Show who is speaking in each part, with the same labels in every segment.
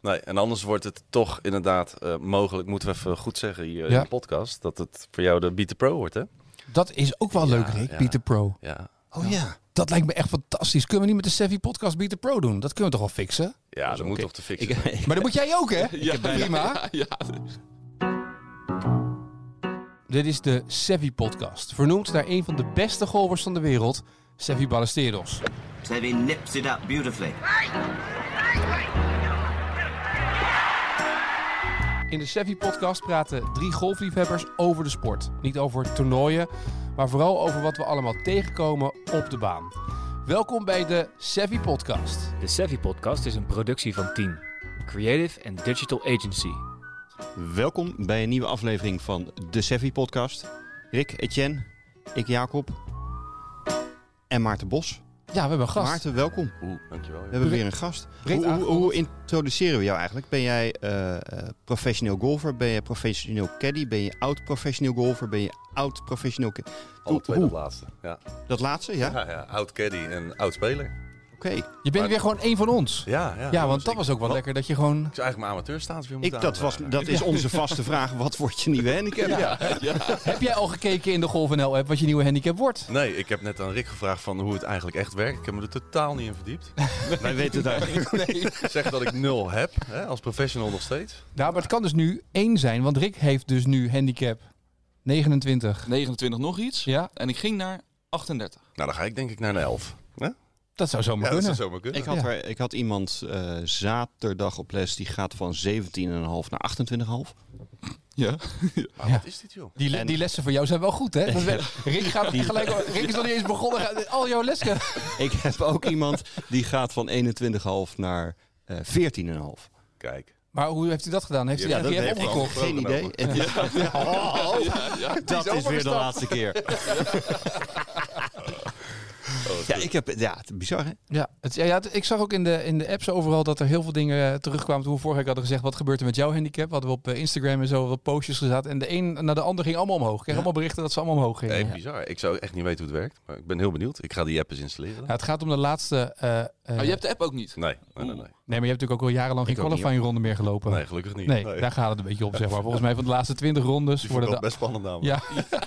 Speaker 1: Nee, en anders wordt het toch inderdaad eh, mogelijk, moeten we even goed zeggen hier
Speaker 2: Ja.
Speaker 1: in de podcast, dat het voor jou de Beat the Pro wordt, hè?
Speaker 2: Dat is ook wel
Speaker 1: Ja,
Speaker 2: leuk, Rick.
Speaker 1: ja.
Speaker 2: Beat the Pro.
Speaker 1: Ja.
Speaker 2: Oh ja. Dat lijkt me echt fantastisch. Kunnen we niet met de Savvy Podcast Beat the Pro doen? Dat kunnen we toch wel fixen?
Speaker 1: Ja, dat,
Speaker 3: oké.
Speaker 1: moet toch te fixen.
Speaker 3: Ik-
Speaker 1: zijn.
Speaker 2: Maar dat moet jij ook, hè?
Speaker 3: ja,
Speaker 2: Prima.
Speaker 3: Ja, ja,
Speaker 2: Dit is de Savvy Podcast. Vernoemd naar een van de beste golvers van de wereld, Savvy Ballesteros.
Speaker 4: Sevi nips it up beautifully.
Speaker 2: In de Savvy Podcast praten drie golfliefhebbers over de sport. Niet over toernooien, maar vooral over wat we allemaal tegenkomen op de baan. Welkom bij de Savvy Podcast.
Speaker 5: De Savvy Podcast is een productie van Team, Creative and Digital Agency.
Speaker 6: Welkom bij een nieuwe aflevering van de Sevi Podcast. Rick, Etienne, ik Jacob en Maarten Bos.
Speaker 2: Ja, we hebben een gast.
Speaker 6: Maarten, welkom.
Speaker 1: Oeh, dankjewel.
Speaker 6: We
Speaker 1: Ja.
Speaker 6: hebben weer een gast.
Speaker 2: Breed
Speaker 6: Hoe, hoe,
Speaker 2: aangekondigd.
Speaker 6: hoe introduceren we jou eigenlijk? Ben jij eh, eh, professioneel golfer? Ben jij professioneel caddy? Ben je oud-professioneel golfer? Ben je oud-professioneel... ca-
Speaker 1: Alle twee
Speaker 6: hoe-
Speaker 1: dat laatste. Ja.
Speaker 6: Dat laatste, ja?
Speaker 1: Ja, ja, oud caddy en oud speler.
Speaker 6: Oké.
Speaker 2: Je bent weer gewoon één van ons.
Speaker 1: Ja, ja.
Speaker 2: Ja, want
Speaker 1: Dus
Speaker 2: dat
Speaker 1: ik-
Speaker 2: was ook wel
Speaker 1: wat-
Speaker 2: lekker dat je gewoon...
Speaker 1: Ik zou eigenlijk mijn amateurstatus weer moeten
Speaker 6: Ik- Dat, was-
Speaker 1: aanvragen.
Speaker 6: dat is onze vaste vraag. Wat wordt je nieuwe handicap?
Speaker 2: Heb jij al gekeken in de Golf NL app wat je nieuwe handicap wordt?
Speaker 1: Nee, ik heb net aan Rick gevraagd van hoe het eigenlijk echt werkt. Ik heb me er totaal niet in verdiept.
Speaker 6: Wij weten het eigenlijk.
Speaker 1: Ik zeg dat ik nul heb, hè, als professional nog steeds.
Speaker 2: Nou, maar het kan dus nu één zijn, want Rick heeft dus nu handicap 29.
Speaker 3: 29 nog iets.
Speaker 2: Ja,
Speaker 3: En ik ging naar 38.
Speaker 1: Nou, dan ga ik denk ik naar een elf. Hè?
Speaker 2: dat zou zomaar
Speaker 1: Ja, dat zou zomaar
Speaker 2: kunnen.
Speaker 1: kunnen.
Speaker 6: Ik had,
Speaker 2: Ja.
Speaker 6: er, ik had iemand eh, zaterdag op les die gaat van 17,5 naar 28,5.
Speaker 3: Ja.
Speaker 1: Maar wat is dit, joh?
Speaker 2: Die, le-
Speaker 6: En-
Speaker 2: die lessen voor jou zijn wel goed, hè? Dat werkt. Rick, gaat gelijk, Rick is nog niet eens begonnen. gaat- Al jouw lessen.
Speaker 6: Ik heb ook iemand die gaat van 21,5 naar eh 14,5.
Speaker 1: Kijk.
Speaker 2: Maar hoe heeft hij dat gedaan? Heeft hij
Speaker 1: Ja,
Speaker 2: ja,
Speaker 1: dat
Speaker 2: heeft
Speaker 1: heeft hij
Speaker 2: opgekocht?
Speaker 1: wel.
Speaker 6: Geen idee. Het is- Oh, dat is weer de laatste keer. Ja, ik heb, ja, het is bizar hè?
Speaker 2: Ja, het, ja, ja, het- ik zag ook in de, in de apps overal dat er heel veel dingen eh, terugkwamen. Toen we vorige week hadden gezegd, wat gebeurt er met jouw handicap? Hadden we op eh, Instagram en zo wat postjes gezet. En de een naar de ander ging allemaal omhoog. Ik kreeg allemaal berichten dat ze allemaal omhoog gingen.
Speaker 1: Nee,
Speaker 2: Ja.
Speaker 1: bizar. Ik zou echt niet weten hoe het werkt. Maar ik ben heel benieuwd. Ik ga die app eens installeren.
Speaker 2: Ja, Nou, het gaat om de laatste... eh, eh,
Speaker 3: Maar Oh, je hebt de app ook niet.
Speaker 1: Nee, nee, nee. Nee,
Speaker 2: Nee, maar je hebt natuurlijk ook al jarenlang geen
Speaker 1: Oh, Ik ook niet,
Speaker 2: qualifying ronde meer gelopen.
Speaker 1: nee gelukkig niet.
Speaker 2: Nee, daar gaat het een beetje om, zeg maar. Volgens mij van de laatste 20 rondes
Speaker 1: Die vond ik
Speaker 2: worden
Speaker 1: wel
Speaker 2: de...
Speaker 1: best spannend namelijk.
Speaker 2: Ja.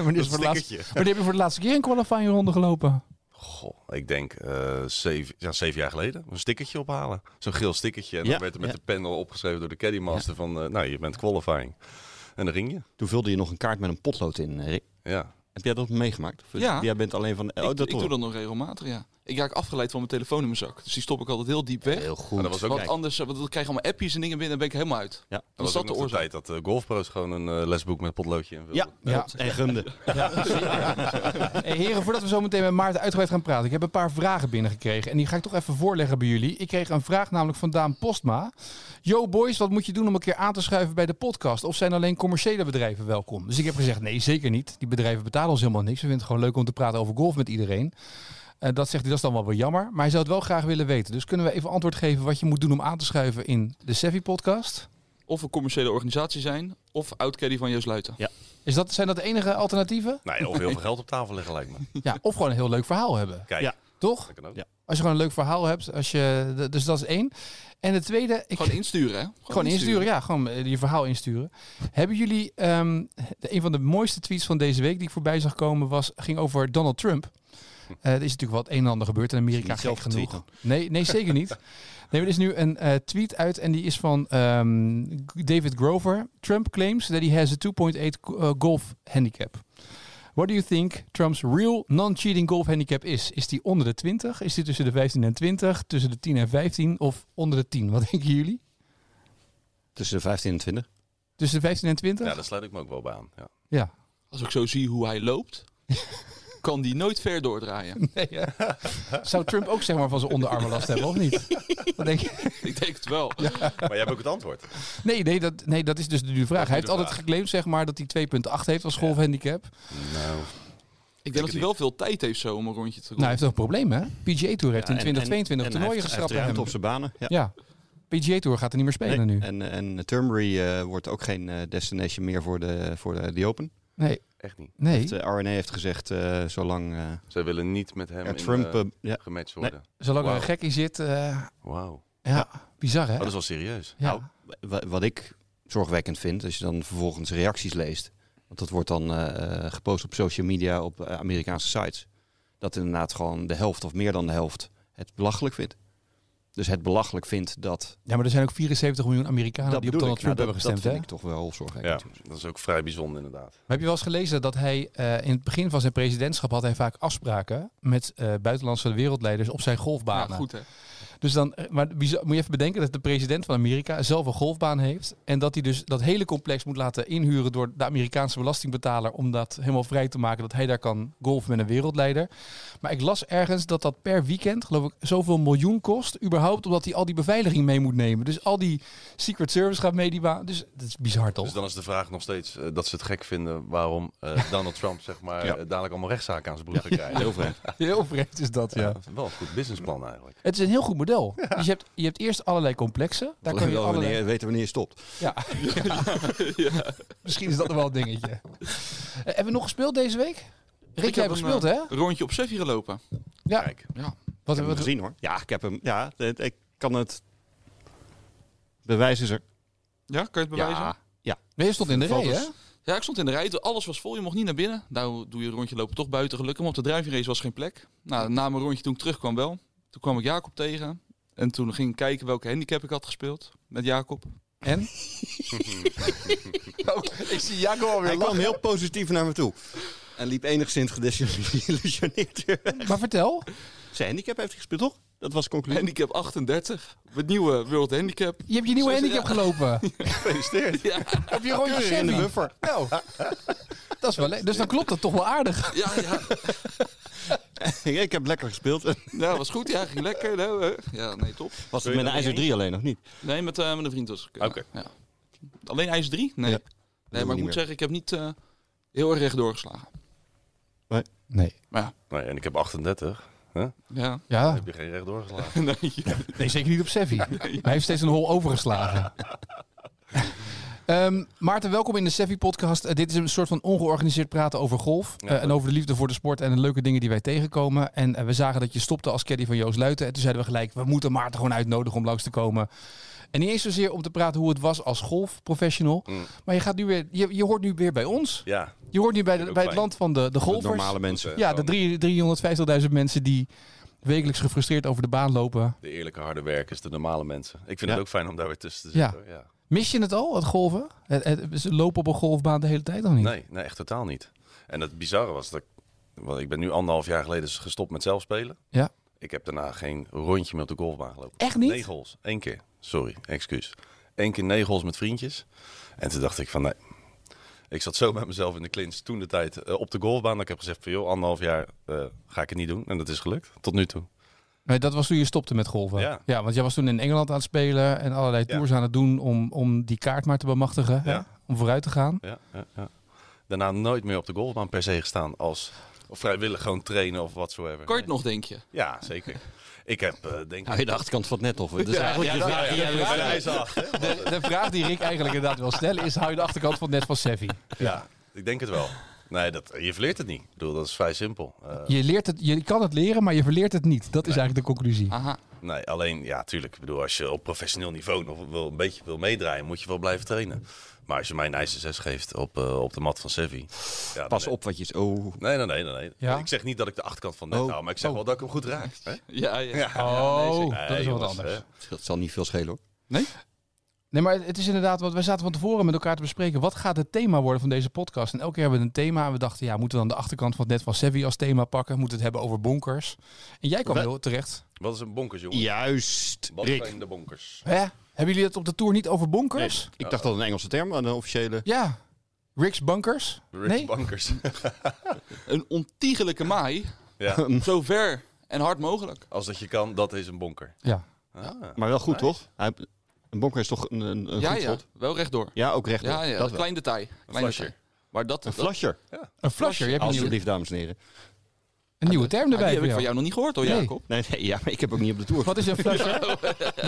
Speaker 2: Wanneer, is voor de laatste...
Speaker 1: stickertje.
Speaker 2: Wanneer heb je voor de laatste keer een qualifying ronde gelopen?
Speaker 1: Goh, ik denk eh, zeven, ja, zeven jaar geleden. Een stickertje ophalen. Zo'n geel stickertje. En
Speaker 6: Ja,
Speaker 1: dan werd er met
Speaker 6: ja.
Speaker 1: de panel opgeschreven door de caddymaster van... eh, nou, je bent qualifying. En dan ging je.
Speaker 6: Toen vulde je nog een kaart met een potlood in, eh, Rick.
Speaker 1: Ja.
Speaker 6: Heb jij dat meegemaakt? Of-
Speaker 3: Ja.
Speaker 6: Jij bent alleen van... Oh,
Speaker 3: ik,
Speaker 6: dat
Speaker 3: ik doe dat nog regelmatig, ja. Ik raak afgeleid van mijn telefoon in mijn zak. Dus die stop ik altijd heel diep weg.
Speaker 6: Heel goed.
Speaker 1: Maar dat was ook
Speaker 3: Want
Speaker 1: Kijk.
Speaker 3: anders eh, want dan krijg je allemaal appjes en dingen binnen en ben ik helemaal uit.
Speaker 6: Ja.
Speaker 3: Dan
Speaker 1: dat
Speaker 3: is dat de
Speaker 1: was ook nog de
Speaker 3: oorzaak.
Speaker 1: tijd dat eh, golfpro's gewoon een eh, lesboek met potloodje invulden.
Speaker 6: Ja,
Speaker 2: Ja.
Speaker 6: en gunde.
Speaker 2: Hey, heren, voordat we zo meteen met Maarten uitgebreid gaan praten. Ik heb een paar vragen binnengekregen. En die ga ik toch even voorleggen bij jullie. Ik kreeg een vraag namelijk van Daan Postma. Yo boys, wat moet je doen om een keer aan te schuiven bij de podcast? Of zijn alleen commerciële bedrijven welkom? Dus ik heb gezegd, nee zeker niet. Die bedrijven betalen ons helemaal niks. We vinden het gewoon leuk om te praten over golf met iedereen. Eh, dat zegt hij, dat is dan wel wel jammer. Maar hij zou het wel graag willen weten. Dus kunnen we even antwoord geven wat je moet doen om aan te schuiven in de Sevi podcast?
Speaker 3: Of een commerciële organisatie zijn, of oud-caddy van Joost Luiten.
Speaker 2: Is dat, zijn dat de enige alternatieven?
Speaker 1: Nee, of heel veel geld op tafel liggen lijkt me.
Speaker 2: Ja, of gewoon een heel leuk verhaal hebben.
Speaker 1: Kijk,
Speaker 6: Ja.
Speaker 2: Toch?
Speaker 1: dat kan ook.
Speaker 6: Ja.
Speaker 2: Als je gewoon een leuk verhaal hebt. Als je, d- dus dat is één. En de tweede, ik,
Speaker 3: Gewoon
Speaker 2: gewoon,
Speaker 3: insturen, hè? Gewoon,
Speaker 2: insturen. Ja, gewoon eh, je verhaal insturen. Hebben jullie, ehm, de- een van de mooiste tweets van deze week die ik voorbij zag komen, was, ging over Donald Trump. Eh, er is natuurlijk wat een en ander gebeurd in Amerika,
Speaker 6: Hm. Is hij
Speaker 2: gek
Speaker 6: niet zelf
Speaker 2: genoeg. Nee, nee, zeker niet. Nee, er is nu een eh, tweet uit en die is van ehm, David Grover. Trump claims that he has a 2.8 go- eh, golf handicap. What do you think Trump's real non-cheating golf handicap is? Is die onder de 20? Is die tussen de 15 en 20? Tussen de 10 en 15? Of onder de 10? Wat denken jullie?
Speaker 6: Tussen de 15 en 20.
Speaker 2: Tussen de 15 en 20?
Speaker 1: Ja,
Speaker 2: Ja.
Speaker 1: daar sluit ik me ook wel bij aan. Ja.
Speaker 3: Als ik zo zie hoe hij loopt, kan die nooit ver doordraaien.
Speaker 2: Nee, hè? Zou Trump ook zeg maar van zijn onderarmen last hebben of niet? Wat denk je?
Speaker 3: ik denk het wel.
Speaker 1: Maar jij hebt ook het antwoord.
Speaker 2: Nee, nee, dat, nee, dat is dus nu de vraag. Hij heeft
Speaker 1: vraag.
Speaker 2: altijd geclaimd zeg maar, dat hij 2.8 heeft als golfhandicap.
Speaker 1: Nou,
Speaker 3: Ik denk dat hij wel veel tijd heeft zo om een rondje te
Speaker 2: Nou,
Speaker 3: doen.
Speaker 2: hij heeft nog een probleem, hè? PGA Tour heeft in
Speaker 6: Ja, en- en-
Speaker 2: 2022 toernooien
Speaker 6: en hij heeft- hij heeft
Speaker 2: geschrapt bij
Speaker 6: ruimte
Speaker 2: hem.
Speaker 6: op zijn banen. Ja.
Speaker 2: Ja. PGA Tour gaat er niet meer spelen
Speaker 6: Nee,
Speaker 2: nu.
Speaker 6: En, en Turnberry eh, wordt ook geen eh, destination meer voor de, voor de, die Open.
Speaker 2: Nee,
Speaker 1: echt niet.
Speaker 2: nee.
Speaker 6: De RNA heeft gezegd, eh, zolang eh,
Speaker 1: Zij willen niet met hem
Speaker 6: er
Speaker 1: in,
Speaker 6: Trump...
Speaker 1: eh,
Speaker 6: eh, ja.
Speaker 1: gematcht
Speaker 6: Nee.
Speaker 1: worden.
Speaker 2: Zolang er
Speaker 1: Wauw.
Speaker 2: een gek in zit, eh,
Speaker 1: Wauw.
Speaker 2: Ja, bizar hè?
Speaker 1: Oh, dat is wel serieus.
Speaker 2: ja.
Speaker 6: Nou, wa- wat ik zorgwekkend vind, als je dan vervolgens reacties leest, want dat wordt dan eh, gepost op social media, op eh, Amerikaanse sites, dat inderdaad gewoon de helft of meer dan de helft het belachelijk vindt. Dus het belachelijk vindt dat.
Speaker 2: ja, maar er zijn ook 74 miljoen Amerikanen
Speaker 6: dat
Speaker 2: die op
Speaker 6: bedoel
Speaker 2: Donald
Speaker 6: ik. Nou,
Speaker 2: Trump hebben
Speaker 6: dat, dat
Speaker 2: gestemd.
Speaker 6: vind
Speaker 2: hè?
Speaker 6: ik toch wel
Speaker 1: Ja,
Speaker 6: zorgwekkend.
Speaker 1: dat is ook vrij bijzonder inderdaad.
Speaker 2: Maar heb je wel eens gelezen dat hij eh, in het begin van zijn presidentschap had hij vaak afspraken met eh, buitenlandse wereldleiders op zijn
Speaker 3: Ja,
Speaker 2: golfbanen.
Speaker 3: goed hè.
Speaker 2: Dus dan, eh, maar bizar- moet je even bedenken dat de president van Amerika zelf een golfbaan heeft. En dat hij dus dat hele complex moet laten inhuren door de Amerikaanse belastingbetaler. Om dat helemaal vrij te maken dat hij daar kan golfen met een wereldleider. Maar ik las ergens dat dat per weekend, geloof ik, zoveel miljoen kost. Überhaupt omdat hij al die beveiliging mee moet nemen. Dus al die Secret Service gaat mee die baan. Dus dat is bizar toch?
Speaker 1: Dus dan is de vraag nog steeds eh, dat ze het gek vinden waarom eh, Donald Trump zeg maar
Speaker 6: Ja.
Speaker 1: eh, dadelijk allemaal rechtszaken aan zijn broek gaat krijgen.
Speaker 6: Heel vreemd.
Speaker 2: Heel vreemd is dat, ja.
Speaker 1: Wel een goed businessplan eigenlijk.
Speaker 2: Het is een heel goed model. Dus je hebt, je hebt eerst allerlei complexen. Daar kan je
Speaker 6: Wel
Speaker 2: allerlei...
Speaker 6: wanneer, weten wanneer je stopt.
Speaker 2: Ja. Misschien is dat nog wel een dingetje. Eh, hebben we nog gespeeld deze week? Rick,
Speaker 3: Ik
Speaker 2: jij
Speaker 3: heb
Speaker 2: hebt
Speaker 3: een,
Speaker 2: gespeeld,
Speaker 3: eh,
Speaker 2: hè?
Speaker 3: Rondje op Seffi gelopen.
Speaker 2: Ja.
Speaker 1: Kijk.
Speaker 2: Wat,
Speaker 6: Ik heb
Speaker 2: wat,
Speaker 6: hem gezien hoor. Ja, ik heb hem. Ja, het- ik kan het. Bewijs is er.
Speaker 3: Ja, kan je het bewijzen?
Speaker 6: Ja.
Speaker 2: nee, je stond in de rij, hè?
Speaker 6: Foto's.
Speaker 3: Ja, ik stond in de rij. Alles was vol. Je mocht niet naar binnen. Nou doe je een rondje lopen toch buiten gelukkig. Maar op de driving race was geen plek. Nou, na mijn rondje toen ik terugkwam wel. Toen kwam ik Jacob tegen. En toen ging ik kijken welke handicap ik had gespeeld met Jacob.
Speaker 2: En? ik zie Jacob
Speaker 6: Hij kwam heel positief naar me toe. En liep enigszins gedesillusioneerd. weer.
Speaker 2: Maar vertel.
Speaker 6: Zijn handicap heeft hij gespeeld, toch? Dat was de conclusie.
Speaker 3: Handicap 38. Het nieuwe World Handicap.
Speaker 2: Je hebt je nieuwe
Speaker 3: Zo-
Speaker 2: handicap gelopen.
Speaker 6: Gefeliciteerd.
Speaker 3: Ja,
Speaker 2: Op je rondje
Speaker 6: Keurig in de
Speaker 2: Chevy.
Speaker 6: buffer.
Speaker 2: Nou, dat is wel le- Dus dan klopt dat toch wel aardig.
Speaker 3: ja, ja.
Speaker 6: ik heb lekker gespeeld.
Speaker 3: Ja, was goed. Ja, ging lekker. Nou, hè. Ja, nee, top.
Speaker 6: Was het met een ijzer 3 alleen nog niet?
Speaker 3: Nee, met, eh, met een vriend was ik. eh,
Speaker 1: Oké.
Speaker 3: ja. Alleen ijs 3? Nee.
Speaker 6: Ja.
Speaker 3: Nee, maar ik
Speaker 6: niet
Speaker 3: moet
Speaker 6: meer.
Speaker 3: zeggen, ik heb niet eh, heel erg recht doorgeslagen.
Speaker 2: Nee.
Speaker 3: Maar ja.
Speaker 1: Nee, Nou en ik heb 38.
Speaker 3: ja.
Speaker 2: Ja,
Speaker 1: Heb je geen recht doorgeslagen?
Speaker 3: nee, ja.
Speaker 2: Nee, zeker niet op Seffi. Hij heeft steeds een hol overgeslagen. Ehm, Maarten, welkom in de Seffi-podcast. Eh, dit is een soort van ongeorganiseerd praten over golf. eh, en over de liefde voor de sport en de leuke dingen die wij tegenkomen. En eh, we zagen dat je stopte als caddy van Joost Luiten. En toen zeiden we gelijk, we moeten Maarten gewoon uitnodigen om langs te komen. En niet eens zozeer om te praten hoe het was als golfprofessional.
Speaker 1: Mm.
Speaker 2: Maar je, gaat nu weer, je, je hoort nu weer bij ons.
Speaker 1: Ja.
Speaker 2: Je hoort nu bij, de-
Speaker 1: Ook
Speaker 2: bij het
Speaker 1: fijn.
Speaker 2: land van de, de golfers.
Speaker 6: Normale mensen.
Speaker 2: ja, de
Speaker 1: drie.
Speaker 2: drie- 350.000 mensen die wekelijks gefrustreerd over de baan lopen.
Speaker 1: De eerlijke harde werkers, de normale mensen. Ik vind
Speaker 6: Ja.
Speaker 1: het ook fijn om daar weer tussen te
Speaker 2: Ja.
Speaker 1: zitten. hoor. Ja.
Speaker 2: Mis je het al, het golven? Het, het- ze lopen op een golfbaan de hele tijd nog niet?
Speaker 1: Nee, nee, echt totaal niet. En het bizarre was dat ik, want ik ben nu anderhalf jaar geleden dus gestopt met zelf spelen.
Speaker 2: Ja.
Speaker 1: Ik heb daarna geen rondje meer op de golfbaan gelopen.
Speaker 2: Echt niet?
Speaker 1: Negen holes, één keer. Sorry, excuus. Eén keer negen holes met vriendjes. En toen dacht ik van nee. Ik zat zo met mezelf in de clinch toen de tijd eh, op de golfbaan. Dat ik heb gezegd van joh, anderhalf jaar eh, ga ik het niet doen. En dat is gelukt, tot nu toe.
Speaker 2: Nee, dat was toen je stopte met golven.
Speaker 1: Ja.
Speaker 2: want jij was toen in Engeland aan het spelen en allerlei
Speaker 1: Ja.
Speaker 2: tours aan het doen om, om die kaart maar te bemachtigen. hè?
Speaker 1: Ja.
Speaker 2: Om vooruit te gaan.
Speaker 1: Ja, ja, ja. Daarna nooit meer op de golfbaan per se gestaan als... Of vrijwillig gewoon trainen of watsoever.
Speaker 3: Kort nog, denk je?
Speaker 1: Ja, zeker. Ik heb, eh, denk ik...
Speaker 6: Nou, de achterkant van het net of. Dat is eigenlijk je vraag.
Speaker 1: Ah, ja, ja, hij is af, hè?
Speaker 2: De, de vraag die Rick eigenlijk inderdaad wil stellen is, hou je de achterkant van het net van Seffi?
Speaker 1: Ja, ik denk het wel. Nee, dat, je verleert het niet. Ik bedoel, dat is vrij simpel. Eh,
Speaker 2: Je, leert het, je kan het leren, maar je verleert het niet. Dat is eigenlijk de conclusie.
Speaker 3: Aha.
Speaker 1: nee, alleen, ja, tuurlijk. Ik bedoel, als je op professioneel niveau nog wil, een beetje wil meedraaien, moet je wel blijven trainen. Maar als je mij een ijzer 6 geeft op, eh, op de mat van Sevi... Ja,
Speaker 6: Pas
Speaker 1: dan-
Speaker 6: op wat je is. Oh.
Speaker 1: Nee, nee, nee. nee, nee.
Speaker 2: Ja?
Speaker 1: Ik zeg niet dat ik de achterkant van het net
Speaker 6: Oh.
Speaker 1: hou, maar ik zeg wel dat ik hem goed raak. Hè?
Speaker 3: Ja, ja.
Speaker 2: Oh,
Speaker 1: Nee,
Speaker 2: dat is wat
Speaker 1: jongens,
Speaker 2: anders.
Speaker 1: hè.
Speaker 6: Dat zal niet veel schelen hoor.
Speaker 2: Nee, maar het is inderdaad, want wij zaten van tevoren met elkaar te bespreken. Wat gaat het thema worden van deze podcast? En elke keer hebben we een thema. En we dachten, ja, moeten we dan de achterkant van het net van Sevi als thema pakken? Moeten we het hebben over bonkers? En jij kwam
Speaker 1: We-
Speaker 2: heel terecht.
Speaker 1: Wat is een bonkers, jongen?
Speaker 6: Juist.
Speaker 1: Wat
Speaker 6: Rick.
Speaker 1: zijn de bonkers?
Speaker 2: Hè? Hebben jullie het op de tour niet over bonkers?
Speaker 6: Ik dacht dat het een Engelse term was, een officiële.
Speaker 2: Ja. Rick's bunkers?
Speaker 1: Rick's
Speaker 2: Nee?
Speaker 1: Bankers.
Speaker 3: Een ontiegelijke maai.
Speaker 1: ja,
Speaker 3: Zo ver en hard mogelijk.
Speaker 1: als dat je kan, dat is een bonker.
Speaker 2: Ja.
Speaker 1: Ah.
Speaker 6: Maar wel goed toch? Hij- Een bonker is toch een, een, een
Speaker 3: Ja,
Speaker 6: goed
Speaker 3: ja.
Speaker 6: schot?
Speaker 3: Wel rechtdoor.
Speaker 6: Ja, ook recht.
Speaker 3: Ja, ja.
Speaker 6: dat wel.
Speaker 3: klein detail. Klein
Speaker 1: flasher.
Speaker 3: detail. Maar dat,
Speaker 6: Een
Speaker 3: dat-
Speaker 6: flasher.
Speaker 2: Een flasher. Je hebt een nieuwe,
Speaker 6: Alsjeblieft, dames en heren.
Speaker 2: een nieuwe term
Speaker 3: Ja, Ah, die
Speaker 2: erbij.
Speaker 3: heb ik van
Speaker 2: voor jou.
Speaker 3: jou nog niet gehoord hoor, Ah,
Speaker 2: Nee.
Speaker 3: Jacob.
Speaker 6: Nee, nee, ja, maar ik heb ook niet op de tour.
Speaker 2: Wat is een flasher?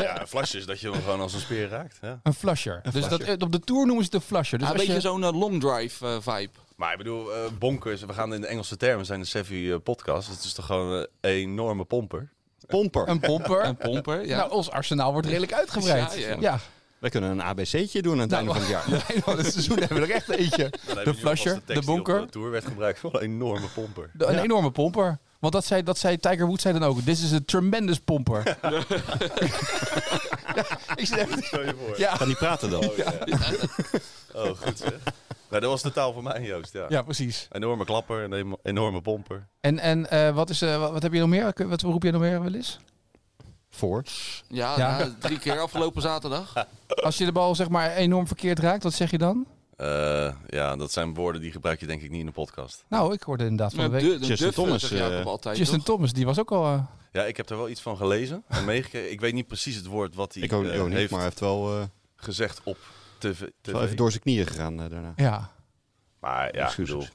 Speaker 1: Ja, een flasje is dat je hem gewoon als een speer raakt. Ja.
Speaker 2: een flasher. Dus
Speaker 6: flasher.
Speaker 2: dat, eh, op de tour noemen ze het een flasher. Dus
Speaker 3: Ja, een
Speaker 2: als
Speaker 3: beetje
Speaker 2: je,
Speaker 3: zo'n eh, long drive eh, vibe.
Speaker 1: Maar ik bedoel, eh, bonkers, we gaan in de Engelse termen, we zijn de Sevi eh, podcast. Het is toch gewoon een enorme pomper.
Speaker 6: Pomper.
Speaker 2: Een pomper.
Speaker 3: En pomper. Ja.
Speaker 2: Nou, ons arsenaal wordt redelijk uitgebreid.
Speaker 3: Ja, ja.
Speaker 6: Wij kunnen een ABC'tje doen aan het
Speaker 2: Nou,
Speaker 6: einde van het jaar.
Speaker 2: Nee, nou, dit seizoen hebben we er echt eentje. De flasher, de,
Speaker 1: Die
Speaker 2: bonker.
Speaker 1: op eh, de tour werd gebruikt voor een enorme pomper.
Speaker 2: De- een enorme pomper. Want dat zei, dat zei Tiger Woods zei dan ook. This is a tremendous pomper. ja, ik zit echt...
Speaker 1: Stel je voor.
Speaker 2: Ja,
Speaker 6: Kan niet praten dan.
Speaker 1: Oh, ja. oh, goed zeg. Nou, dat was de taal voor mij, Joost. Ja.
Speaker 2: ja precies.
Speaker 1: Enorme klapper, een em- enorme pomper.
Speaker 2: En, en eh, wat, is, eh, wat, wat heb je nog meer? Kun- Wat roep je nog meer wel eens?
Speaker 6: Voor.
Speaker 3: Ja,
Speaker 2: Ja.
Speaker 3: nou, drie keer afgelopen zaterdag.
Speaker 2: Als je de bal zeg maar enorm verkeerd raakt, wat zeg je dan?
Speaker 1: Eh, ja, dat zijn woorden die gebruik je denk ik niet in de podcast.
Speaker 2: Nou, ik hoorde inderdaad
Speaker 3: Eh,
Speaker 2: van de week.
Speaker 6: Justin Thomas, eh,
Speaker 3: altijd,
Speaker 2: Justin
Speaker 3: toch?
Speaker 2: Thomas, die was ook al... eh,
Speaker 1: Ja, ik heb er wel iets van gelezen en meegekregen. Ik weet niet precies het woord wat hij
Speaker 6: Ik ook,
Speaker 1: eh,
Speaker 6: ik ook niet,
Speaker 1: heeft
Speaker 6: maar hij heeft wel, eh,
Speaker 1: gezegd op tv.
Speaker 6: wel even door zijn knieën gegaan eh, daarna.
Speaker 2: ja.
Speaker 1: Maar ja, ik
Speaker 6: Excuses.
Speaker 1: bedoel,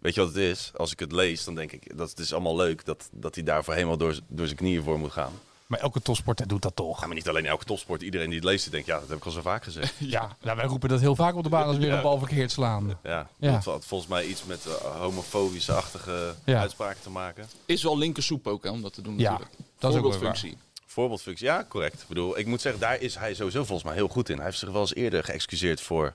Speaker 1: weet je wat het is? Als ik het lees, dan denk ik, dat het is allemaal leuk dat, dat hij daarvoor helemaal door, z- door zijn knieën voor moet gaan.
Speaker 2: Maar elke topsporter doet dat toch?
Speaker 1: Ja, maar niet alleen elke topsport. Iedereen die het leest, die denkt, ja, dat heb ik al zo vaak gezegd.
Speaker 2: Ja, nou, wij roepen dat heel vaak op de baan als we weer een bal verkeerd slaan.
Speaker 1: Ja,
Speaker 2: Ja.
Speaker 1: dat had volgens mij iets met eh, homofobische-achtige
Speaker 2: Ja.
Speaker 1: uitspraken te maken.
Speaker 3: Is wel linkersoep ook hè, om dat te doen
Speaker 2: Ja,
Speaker 3: natuurlijk.
Speaker 2: dat is ook wel
Speaker 3: Voorbeeldfunctie.
Speaker 1: Voorbeeldfunctie, ja, correct. Ik bedoel, ik moet zeggen, daar is hij sowieso volgens mij heel goed in. Hij heeft zich wel eens eerder geëxcuseerd voor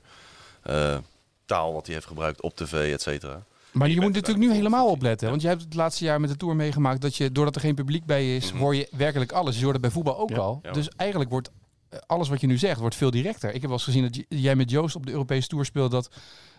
Speaker 1: eh, taal wat hij heeft gebruikt op tv, et cetera.
Speaker 2: Maar je
Speaker 1: bent
Speaker 2: moet
Speaker 1: het
Speaker 2: natuurlijk nu helemaal opletten. Want jij hebt het laatste jaar met de Tour meegemaakt dat je, doordat er geen publiek bij is, hoor je werkelijk alles. Je hoort het bij voetbal ook al.
Speaker 1: Mhm. Ja.
Speaker 2: Dus eigenlijk wordt eh, alles wat je nu zegt, wordt veel directer. Ik heb wel eens gezien dat j- jij met Joost op de Europese Tour speelde dat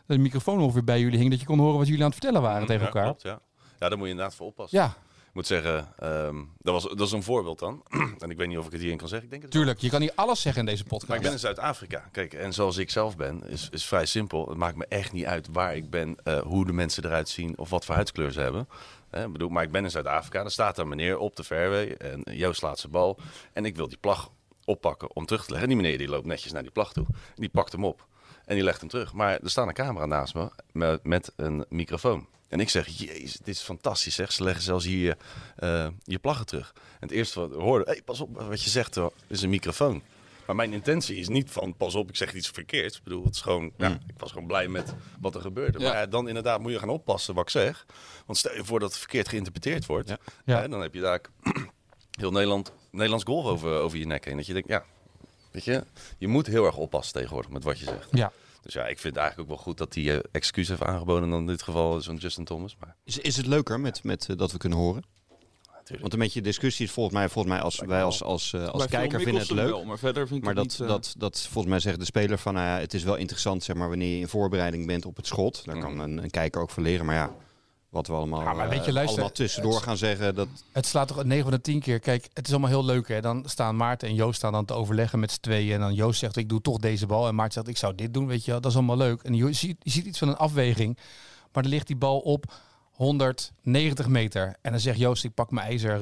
Speaker 2: de microfoon ongeveer bij jullie hing. Dat je kon horen wat jullie aan het vertellen waren tegen
Speaker 1: Mm, Ja,
Speaker 2: elkaar.
Speaker 1: klopt, ja. ja, daar moet je inderdaad voor oppassen.
Speaker 2: Ja,
Speaker 1: Ik moet zeggen, ehm, dat, was, dat is een voorbeeld dan. en ik weet niet of ik het hierin kan zeggen. Ik denk het wel.
Speaker 2: tuurlijk. Je kan niet alles zeggen in deze
Speaker 1: Maar
Speaker 2: podcast.
Speaker 1: ik ben in Zuid-Afrika. Kijk, en zoals ik zelf ben, is, is vrij simpel. Het maakt me echt niet uit waar ik ben, eh, hoe de mensen eruit zien of wat voor huidskleur ze hebben. Eh, ik bedoel, maar ik ben in Zuid-Afrika. Dan staat daar een meneer op de fairway en Joost laat zijn bal. En ik wil die plag oppakken om terug te leggen. En die meneer die loopt netjes naar die plag toe. En die pakt hem op en die legt hem terug. Maar er staat een camera naast me met, met een microfoon. En ik zeg, jezus, dit is fantastisch zeg. Ze leggen zelfs hier eh, je plaggen terug. En het eerste wat we hoorden, hey, pas op wat je zegt, hoor, is een microfoon. Maar mijn intentie is niet van, pas op, ik zeg iets verkeerds. Ik bedoel, het is gewoon, ja, ik was gewoon blij met wat er gebeurde.
Speaker 3: Ja.
Speaker 1: Maar ja, dan inderdaad moet je gaan oppassen wat ik zeg. Want stel je voor dat het verkeerd geïnterpreteerd wordt.
Speaker 6: Ja.
Speaker 2: Ja.
Speaker 1: Hè, dan heb je daar heel Nederland, Nederlands golf over, over je nek heen. Dat je denkt, ja, weet je, je moet heel erg oppassen tegenwoordig met wat je zegt.
Speaker 2: Ja.
Speaker 1: Dus ja, ik vind het eigenlijk ook wel goed dat hij eh, excuus heeft aangeboden dan in dit geval eh, zo'n Justin Thomas. Maar
Speaker 6: Is, is het leuker met, met, eh, dat we kunnen horen?
Speaker 1: natuurlijk.
Speaker 6: Want een beetje discussie is volgens mij, volgens mij als wij als, als, eh, als
Speaker 3: Bij Phil
Speaker 6: kijker vinden het
Speaker 3: Mickelson
Speaker 6: leuk.
Speaker 3: wel, maar verder vind ik
Speaker 6: Maar
Speaker 3: het
Speaker 6: dat,
Speaker 3: niet, eh,
Speaker 6: dat, dat volgens mij zegt de speler van, nou ja, het is wel interessant zeg maar, wanneer je in voorbereiding bent op het schot. Daar kan een, een kijker ook van leren, maar ja, wat we allemaal,
Speaker 2: Ja, maar weet je,
Speaker 6: eh,
Speaker 2: luister,
Speaker 6: allemaal tussendoor gaan zeggen, dat
Speaker 2: Het slaat toch 9 van de 10 keer. Kijk, het is allemaal heel leuk. Hè? Dan staan Maarten en Joost staan dan te overleggen met z'n tweeën. En dan Joost zegt, ik doe toch deze bal. En Maarten zegt, ik zou dit doen. Weet je, wel. dat is allemaal leuk. En je ziet, je ziet iets van een afweging. Maar dan ligt die bal op 190 meter. En dan zegt Joost, ik pak mijn ijzer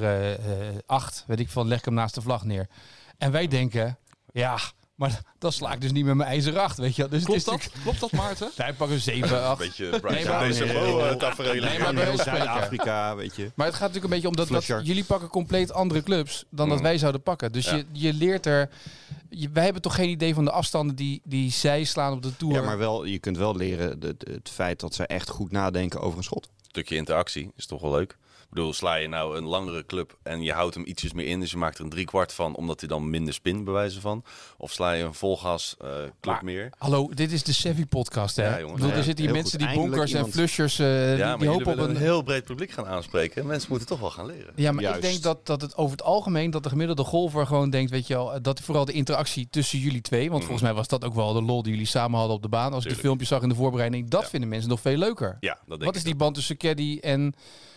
Speaker 2: 8. weet ik veel, leg ik hem naast de vlag neer. En wij denken, ja, maar dan sla ik dus niet met mijn ijzer 8. Weet je, wel. dus het is
Speaker 3: Klopt dat? Klopt dat, Maarten?
Speaker 2: natuurlijk- Hij pakt een 7, 8.
Speaker 1: beetje Brian
Speaker 2: Nee, maar- Oh,
Speaker 1: Decebo, eh, tafereel.
Speaker 2: Nee, maar
Speaker 6: in
Speaker 2: bij
Speaker 6: heel
Speaker 2: ons spreken.
Speaker 6: Zuid-Afrika, weet je.
Speaker 2: Maar het gaat natuurlijk een beetje om dat, dat
Speaker 6: Flusher.
Speaker 2: jullie pakken compleet andere clubs dan
Speaker 1: Mm.
Speaker 2: dat wij zouden pakken. Dus je, je leert er. je- wij hebben toch geen idee van de afstanden die, die zij slaan op de tour.
Speaker 6: Ja, maar wel, je kunt wel leren de- de- het feit dat ze echt goed nadenken over een schot.
Speaker 1: stukje interactie is toch wel leuk. Ik bedoel, sla je nou een langere club en je houdt hem ietsjes meer in, dus je maakt er een driekwart van, omdat hij dan minder spin bewijzen van. Of sla je een volgas eh club
Speaker 2: Maar-
Speaker 1: meer.
Speaker 2: Hallo, dit is de Sevi podcast, hè?
Speaker 1: Ja,
Speaker 2: Ik
Speaker 1: jongens.
Speaker 2: bedoel,
Speaker 1: Ja,
Speaker 2: er zitten hier
Speaker 6: heel
Speaker 2: mensen
Speaker 6: goed.
Speaker 2: die bonkers en
Speaker 6: Eindelijk
Speaker 2: flushers. eh,
Speaker 1: Ja,
Speaker 2: die,
Speaker 1: maar
Speaker 2: die
Speaker 1: jullie
Speaker 2: hopen op
Speaker 1: willen
Speaker 2: een.
Speaker 1: een heel breed publiek gaan aanspreken. Mensen moeten toch wel gaan leren.
Speaker 2: Ja, maar ik
Speaker 6: Juist.
Speaker 2: denk dat, dat het over het algemeen dat de gemiddelde golfer gewoon denkt, weet je wel, eh, dat vooral de interactie tussen jullie twee, want volgens mij was dat ook wel de lol die jullie samen hadden op de baan. Als ik de
Speaker 1: Mm. Tuurlijk.
Speaker 2: filmpjes zag in de voorbereiding, dat
Speaker 1: Ja.
Speaker 2: vinden mensen nog veel leuker.
Speaker 1: Ja, dat denk
Speaker 2: Wat
Speaker 1: ik
Speaker 2: is die band tussen caddy en...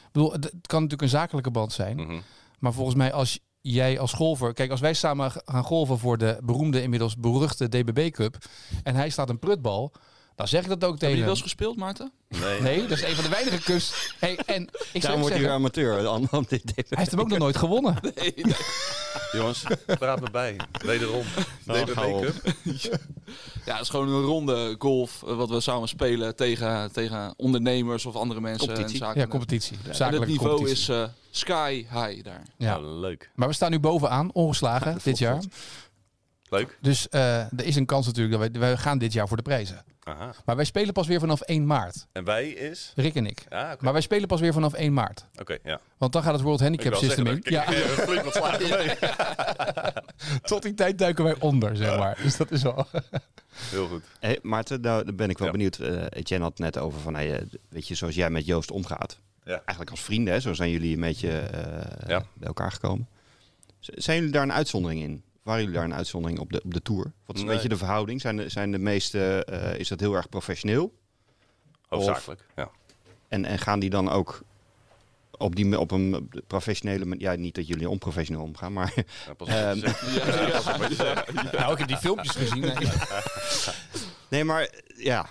Speaker 2: Ik bedoel, het het kan natuurlijk een zakelijke band zijn.
Speaker 1: Mhm.
Speaker 2: Maar volgens mij als jij als golfer... Kijk, als wij samen g- gaan golven voor de beroemde, inmiddels beruchte DBB Cup... en hij staat een prutbal, dan zeg ik dat ook
Speaker 3: Heb
Speaker 2: tegen
Speaker 3: je wel
Speaker 2: hem.
Speaker 3: eens gespeeld, Maarten?
Speaker 1: Nee.
Speaker 2: Nee, dat is een van de weinige cups. Hey, en ik zou
Speaker 6: Daarom
Speaker 2: ook
Speaker 6: wordt hij
Speaker 2: zeggen,
Speaker 6: weer
Speaker 2: hij
Speaker 6: amateur. dan- dan dit- dit-
Speaker 2: heeft hem ook nog nooit gewonnen.
Speaker 1: Jongens, praat me bij. Wederom.
Speaker 6: Oh,
Speaker 1: Neem een
Speaker 6: hou op.
Speaker 1: make-up.
Speaker 3: Ja, het is gewoon een ronde golf eh, wat we samen spelen tegen, tegen ondernemers of andere mensen.
Speaker 6: Competitie.
Speaker 3: En zaken.
Speaker 2: Ja, competitie.
Speaker 3: en het
Speaker 2: Zakelijke
Speaker 3: niveau
Speaker 2: competitie.
Speaker 3: is eh, sky high daar.
Speaker 2: Ja.
Speaker 1: Nou, leuk.
Speaker 2: Maar we staan nu bovenaan, ongeslagen, dit jaar.
Speaker 1: Leuk.
Speaker 2: Dus eh, er is een kans natuurlijk dat wij, wij gaan dit jaar voor de prijzen.
Speaker 1: Aha.
Speaker 2: Maar wij spelen pas weer vanaf 1 maart.
Speaker 1: En wij is...
Speaker 2: Rick en ik.
Speaker 1: Ja, oké.
Speaker 2: Maar wij spelen pas weer vanaf 1 maart.
Speaker 1: Oké, ja.
Speaker 2: Want dan gaat het World
Speaker 1: Ik
Speaker 2: Handicap
Speaker 1: wil
Speaker 2: System in.
Speaker 1: zeggen,
Speaker 2: Ja,
Speaker 1: dat ik- flink wat slaap mee.
Speaker 2: tot die tijd duiken wij onder, zeg maar. Dus dat is wel...
Speaker 1: Heel goed.
Speaker 6: Hey, Maarten, nou, daar ben ik wel
Speaker 1: Ja.
Speaker 6: benieuwd. Eh, Etienne had het net over van, hey, eh, weet je, zoals jij met Joost omgaat.
Speaker 1: Ja.
Speaker 6: Eigenlijk als vrienden, hè, zo zijn jullie een beetje eh,
Speaker 1: Ja.
Speaker 6: bij elkaar gekomen. Z- zijn jullie daar een uitzondering in? Waren jullie daar een uitzondering op de, op de tour? Wat is een
Speaker 1: Nee.
Speaker 6: beetje de verhouding? Zijn de, zijn de meeste, eh, is dat heel erg professioneel?
Speaker 1: Hoofdzakelijk, ja.
Speaker 6: En, en gaan die dan ook op, die, op een professionele manier... Ja, niet dat jullie onprofessioneel omgaan, maar...
Speaker 1: Ja, pas op wat je
Speaker 6: Ehm,
Speaker 1: zegt. Ja, pas op wat je zegt.
Speaker 2: Nou, ik heb die filmpjes gezien.
Speaker 6: Nee, maar eh, ja.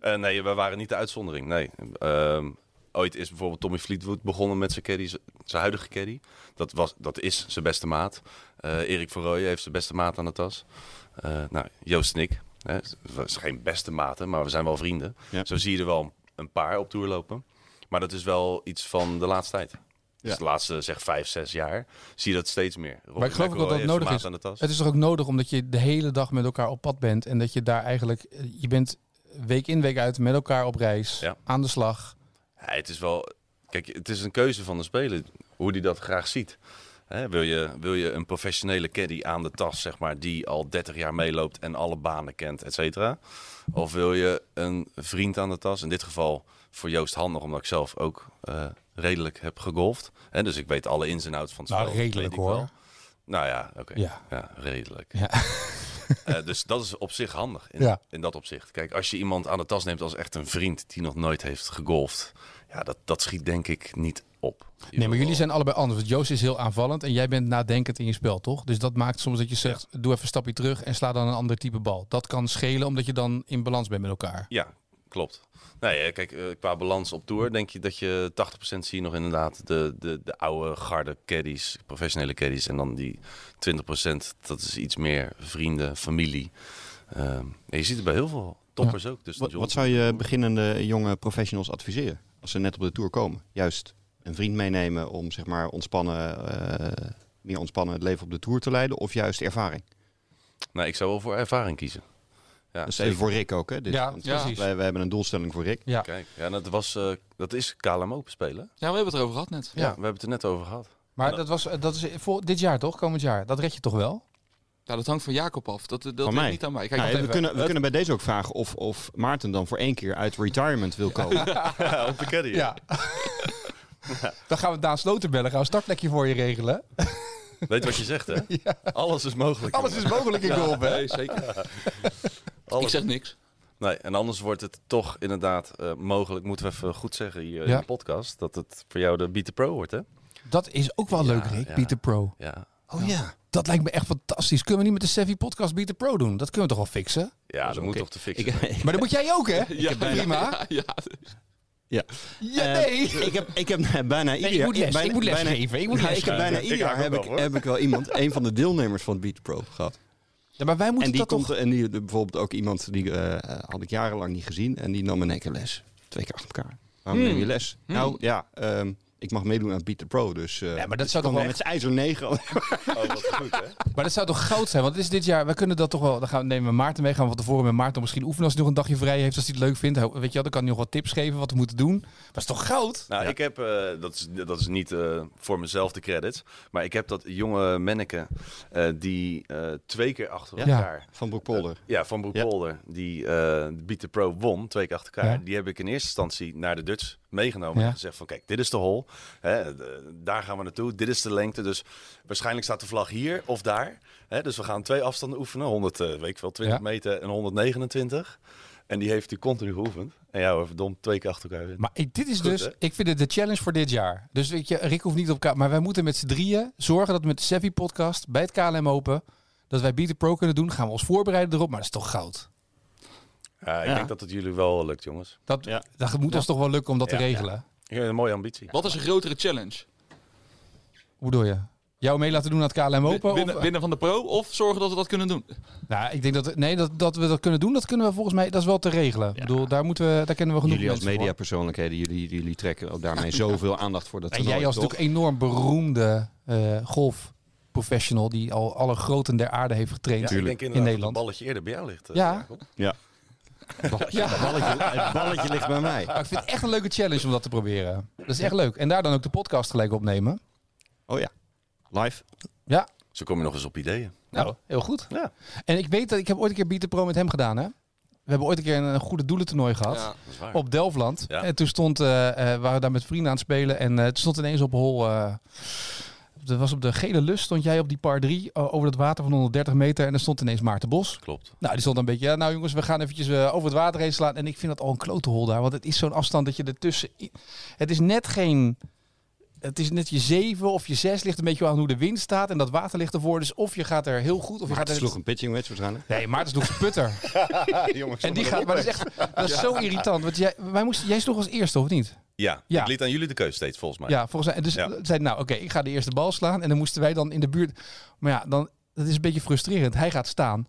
Speaker 1: Eh, nee, we waren niet de uitzondering. Nee. Ehm, ooit is bijvoorbeeld Tommy Fleetwood begonnen met zijn caddy, z- zijn huidige caddy. Dat, was, dat is zijn beste maat. Eh, Erik van Rooijen heeft zijn beste maat aan de tas. Eh, nou, Joost en ik. Hè, dat is geen beste maten, maar we zijn wel vrienden.
Speaker 6: Ja.
Speaker 1: Zo zie je er wel een paar op tour lopen. Maar dat is wel iets van de laatste tijd.
Speaker 6: Ja.
Speaker 1: Dus de laatste zeg vijf, zes jaar zie je dat steeds meer. Robbie
Speaker 2: Maar ik geloof ook dat
Speaker 1: McIlroy heeft zijn
Speaker 2: dat nodig
Speaker 1: maat
Speaker 2: is.
Speaker 1: Aan de tas.
Speaker 2: Het is toch ook nodig omdat je de hele dag met elkaar op pad bent. En dat je daar eigenlijk... eh, Je bent week in, week uit met elkaar op reis.
Speaker 1: Ja.
Speaker 2: Aan de slag.
Speaker 1: Ja, het is wel. Kijk, het is een keuze van de speler hoe die dat graag ziet. Hè, wil, je, wil je een professionele caddy aan de tas, zeg maar, die al 30 jaar meeloopt en alle banen kent, et cetera? Of wil je een vriend aan de tas? In dit geval voor Joost handig, omdat ik zelf ook eh, redelijk heb gegolfd. Hè, dus ik weet alle ins en outs van het spel.
Speaker 2: Nou,
Speaker 1: dat
Speaker 2: redelijk
Speaker 1: weet ik wel.
Speaker 2: hoor.
Speaker 1: Nou ja, oké.
Speaker 2: Ja.
Speaker 1: Ja. redelijk.
Speaker 2: Ja.
Speaker 1: Eh, dus dat is op zich handig in,
Speaker 2: Ja.
Speaker 1: in dat opzicht. Kijk, als je iemand aan de tas neemt als echt een vriend die nog nooit heeft gegolfd, ja, dat, dat schiet denk ik niet op.
Speaker 2: Nee, maar jullie zijn allebei anders. Want Joost is heel aanvallend en jij bent nadenkend in je spel, toch? Dus dat maakt soms dat je zegt, doe even een stapje terug en sla dan een ander type bal. Dat kan schelen omdat je dan in balans bent met elkaar.
Speaker 1: Ja, klopt. Nee, eh, kijk, eh, qua balans op tour denk je dat je 80% zie je nog inderdaad de, de, de oude garde caddies, professionele caddies. En dan die 20% dat is iets meer vrienden, familie. Ehm, en je ziet het bij heel veel toppers ook. Dus
Speaker 6: Wat,
Speaker 1: John-
Speaker 6: wat zou je beginnende jonge professionals adviseren? Als ze net op de tour komen. Juist een vriend meenemen om zeg maar ontspannen, eh, meer ontspannen het leven op de tour te leiden. Of juist ervaring.
Speaker 1: Nou, ik zou wel voor ervaring kiezen. Ja,
Speaker 6: Dat is even voor Rick ook. Hè, dit.
Speaker 2: Ja,
Speaker 6: Want
Speaker 3: ja.
Speaker 6: Wij, wij hebben een doelstelling voor Rick.
Speaker 2: Ja.
Speaker 1: Kijk, ja, dat, was, eh, dat is KLMO spelen.
Speaker 3: Ja, we hebben het erover gehad net.
Speaker 1: Ja. we hebben het er net over gehad.
Speaker 2: Maar dat, was, eh, dat is voor dit jaar, toch? Komend jaar. Dat red je toch wel?
Speaker 3: Ja, dat hangt van Jacob af. Dat, dat
Speaker 6: Van
Speaker 3: ligt
Speaker 6: mij.
Speaker 3: niet aan mij. Kijk,
Speaker 6: Nou,
Speaker 3: dat-
Speaker 6: we kunnen, we kunnen bij deze ook vragen of, of Maarten dan voor één keer uit retirement wil komen.
Speaker 1: Ja, op de caddy.
Speaker 2: Dan gaan we Daan Sloten bellen. Gaan we een startplekje voor je regelen.
Speaker 1: Weet wat je zegt, hè? Alles is mogelijk.
Speaker 2: Alles is mogelijk in golf, hè?
Speaker 3: nee, zeker.
Speaker 1: Alles-
Speaker 3: Ik zeg niks.
Speaker 1: Nee, en anders wordt het toch inderdaad eh, mogelijk, moeten we even goed zeggen hier
Speaker 2: Ja.
Speaker 1: in de podcast, dat het voor jou de Beat the Pro wordt, hè?
Speaker 2: Dat is ook wel
Speaker 1: Ja,
Speaker 2: leuk, Rick.
Speaker 1: ja.
Speaker 2: Beat the Pro.
Speaker 1: Ja.
Speaker 2: Oh ja. Dat lijkt me echt fantastisch. Kunnen we niet met de Sevi podcast Beat the Pro doen? Dat kunnen we toch wel fixen?
Speaker 1: Ja, dat moet
Speaker 6: oké.
Speaker 1: toch te fixen. zijn.
Speaker 6: Ik, eh,
Speaker 2: Maar dat moet jij ook, hè?
Speaker 3: Ja,
Speaker 2: Prima.
Speaker 3: Ja,
Speaker 6: ja.
Speaker 2: Ja,
Speaker 6: Eh,
Speaker 2: nee.
Speaker 6: ik heb, ik heb bijna ieder
Speaker 2: ik
Speaker 6: jaar-
Speaker 2: moet les-
Speaker 6: bijna-
Speaker 2: ik moet les
Speaker 6: bijna-
Speaker 2: geven, ik moet
Speaker 6: Nou,
Speaker 2: les
Speaker 6: ik heb
Speaker 2: geven.
Speaker 6: bijna
Speaker 1: Ik haak
Speaker 6: ieder jaar
Speaker 1: ook
Speaker 6: heb
Speaker 1: wel,
Speaker 6: ik,
Speaker 1: hoor.
Speaker 6: heb ik wel iemand, een van de deelnemers van Beat Pro gehad.
Speaker 2: Ja, maar wij
Speaker 6: En
Speaker 2: moeten
Speaker 6: die,
Speaker 2: dat
Speaker 6: komt,
Speaker 2: toch...
Speaker 6: en die bijvoorbeeld ook iemand die eh, had ik jarenlang niet gezien en die nam in één keer les. Twee keer achter elkaar. Waarom neem je les? Nou ja, ehm, ik mag meedoen aan Beat the Pro, dus. eh,
Speaker 2: Ja, maar dat
Speaker 6: dus
Speaker 2: zou
Speaker 6: ik
Speaker 2: toch wel
Speaker 6: kwam met zijn ijzer 9.
Speaker 1: Oh, dat is goed, hè?
Speaker 2: Maar dat zou toch goud zijn? Want het is dit jaar, we kunnen dat toch wel. Dan gaan we nemen we Maarten mee. Gaan we van tevoren met Maarten misschien oefenen als hij nog een dagje vrij heeft. Als hij het leuk vindt. Hij- Weet je wel, dan kan hij nog wat tips geven wat we moeten doen. Dat is toch goud?
Speaker 1: Nou, ik heb, eh, dat, is, dat is niet eh, voor mezelf de credits, maar ik heb dat jonge manneke eh, die eh, twee keer achter
Speaker 6: Ja.
Speaker 1: elkaar
Speaker 6: Van Broekpolder.
Speaker 1: Ja, van Broekpolder, die eh Beat the Pro won, twee keer achter elkaar.
Speaker 2: Ja.
Speaker 1: Die heb ik in eerste instantie naar de Dutch meegenomen
Speaker 2: Ja.
Speaker 1: en gezegd van kijk, dit is de hole, hè, de- daar gaan we naartoe, dit is de lengte. Dus waarschijnlijk staat de vlag hier of daar. Hè, dus we gaan twee afstanden oefenen, 100, eh, weet ik wel, 20
Speaker 2: Ja.
Speaker 1: meter en 129. En die heeft hij continu geoefend. En ja, hoor, verdomd, twee keer achter elkaar.
Speaker 2: Maar ik- dit is
Speaker 1: Goed,
Speaker 2: dus,
Speaker 1: hè?
Speaker 2: ik vind het de challenge voor dit jaar. Dus weet je, Rick hoeft niet op elkaar. Maar wij moeten met z'n drieën zorgen dat we met de Sevi podcast bij het KLM Open. Dat wij Beat the Pro kunnen doen. Gaan we ons voorbereiden erop. Maar dat is toch goud?
Speaker 1: Ja, ik
Speaker 6: Ja.
Speaker 1: denk dat het jullie wel lukt, jongens.
Speaker 2: Dat,
Speaker 6: Ja.
Speaker 2: dat moet ons toch wel lukken om dat
Speaker 1: Ja,
Speaker 2: te
Speaker 1: ja.
Speaker 2: regelen.
Speaker 1: Ja, een mooie ambitie.
Speaker 3: Wat is een grotere challenge?
Speaker 2: Hoe doe je? Jou mee laten doen aan het KLM Open?
Speaker 3: Winnen,
Speaker 2: of,
Speaker 3: winnen van de pro of zorgen dat we dat kunnen doen?
Speaker 2: Nou, ik denk dat, nee, dat, dat we dat kunnen doen, dat kunnen we volgens mij, dat is wel te regelen. Ik bedoel, daar, moeten we, daar kennen we genoeg
Speaker 6: Jullie als
Speaker 2: mensen voor.
Speaker 6: mediapersoonlijkheden, jullie, jullie trekken ook daarmee zoveel aandacht voor dat
Speaker 2: En jij als
Speaker 6: toernooi,
Speaker 2: natuurlijk enorm beroemde eh golf professional die al alle groten der aarde heeft getraind.
Speaker 1: ik denk
Speaker 2: In
Speaker 1: inderdaad dat het
Speaker 2: Nederland.
Speaker 1: balletje eerder bij jou ligt. eh,
Speaker 2: Ja.
Speaker 1: Jacob.
Speaker 2: Ja.
Speaker 6: Het balletje, het balletje ligt bij mij.
Speaker 2: Maar Ah, ik vind het echt een leuke challenge om dat te proberen. Dat is echt leuk. En daar dan ook de podcast gelijk opnemen.
Speaker 6: Oh ja, live.
Speaker 2: Ja,
Speaker 1: Zo kom je nog eens op ideeën.
Speaker 2: nou, heel goed.
Speaker 1: Ja.
Speaker 2: En ik weet dat ik heb ooit een keer Beat the Pro met hem gedaan, hè? We hebben ooit een keer een, een goede doelentoernooi gehad.
Speaker 3: Ja.
Speaker 1: Dat is waar.
Speaker 2: Op Delftland.
Speaker 1: Ja.
Speaker 2: En toen stond, eh, eh, waren we daar met vrienden aan het spelen. En eh, het stond ineens op hol. eh, dat was op de gele lus. Stond jij op die par 3 over dat water van 130 meter. En er stond ineens Maarten Bos.
Speaker 1: Klopt.
Speaker 2: Nou, die stond een beetje. Ja, nou jongens, we gaan eventjes eh, over het water heen slaan. En ik vind dat al een klote hol daar. Want het is zo'n afstand dat je ertussen. i- Het is net geen. Het is net je zeven of je zes ligt een beetje aan hoe de wind staat. En dat water ligt ervoor. Dus of je gaat er heel goed. Of je
Speaker 6: Maar
Speaker 2: gaat
Speaker 6: het
Speaker 2: er.
Speaker 6: sloeg een pitching match waarschijnlijk.
Speaker 2: Nee, Maarten sloeg zijn putter.
Speaker 6: jongens,
Speaker 2: En die gaat, maar dat is echt dat is zo irritant. Want jij, wij moesten, jij sloeg als eerste, of niet?
Speaker 1: Ja,
Speaker 2: Ja.
Speaker 1: ik liet aan jullie de keuze steeds volgens mij.
Speaker 2: Ja, volgens mij. Dus
Speaker 1: Ja.
Speaker 2: zei nou, oké, ik ga de eerste bal slaan. En dan moesten wij dan in de buurt. Maar ja, dan, dat is een beetje frustrerend. Hij gaat staan,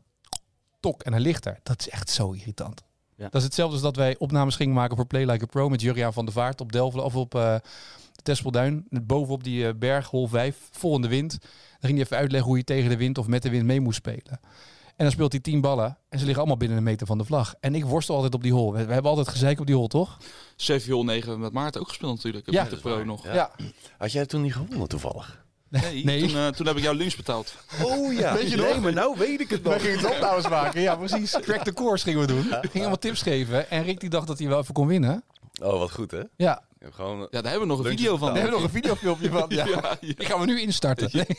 Speaker 2: tok, en hij ligt er. Dat is echt zo irritant.
Speaker 6: Ja.
Speaker 2: Dat is hetzelfde als dat wij opnames gingen maken voor Play Like a Pro met Juriaan van der Vaart op Delft of op eh Tespelduin. Bovenop die eh, berg, hol 5, vol in de wind. Dan ging hij even uitleggen hoe je tegen de wind of met de wind mee moest spelen. En dan speelt hij tien ballen en ze liggen allemaal binnen een meter van de vlag. En ik worstel altijd op die hol. We, we hebben altijd gezeik op die hol, toch?
Speaker 3: Seville 9 met Maarten ook gespeeld natuurlijk.
Speaker 2: Ja.
Speaker 3: Ja, de
Speaker 1: Dat is
Speaker 3: pro
Speaker 1: waar.
Speaker 3: nog.
Speaker 1: Ja. Had jij toen niet gewonnen toevallig?
Speaker 3: Nee,
Speaker 2: Nee.
Speaker 3: Toen, eh, toen heb ik jouw lunch betaald.
Speaker 1: Oh ja.
Speaker 2: Weet je
Speaker 1: nee,
Speaker 2: nog?
Speaker 1: maar nou weet ik het nog.
Speaker 2: Wij gingen het opnames maken, ja precies. Crack the course gingen we doen. Gingen allemaal tips geven. En Rick die dacht dat hij wel even kon winnen.
Speaker 1: Oh, wat goed hè? Ik
Speaker 2: Ja, daar
Speaker 1: heb gewoon...
Speaker 3: Ja, daar hebben we nog een
Speaker 1: Lunch
Speaker 3: video van.
Speaker 1: betaald.
Speaker 2: hebben we nog een videofilmpje van. Ja.
Speaker 3: Ja, ja.
Speaker 2: Die gaan we nu instarten. Nee. Die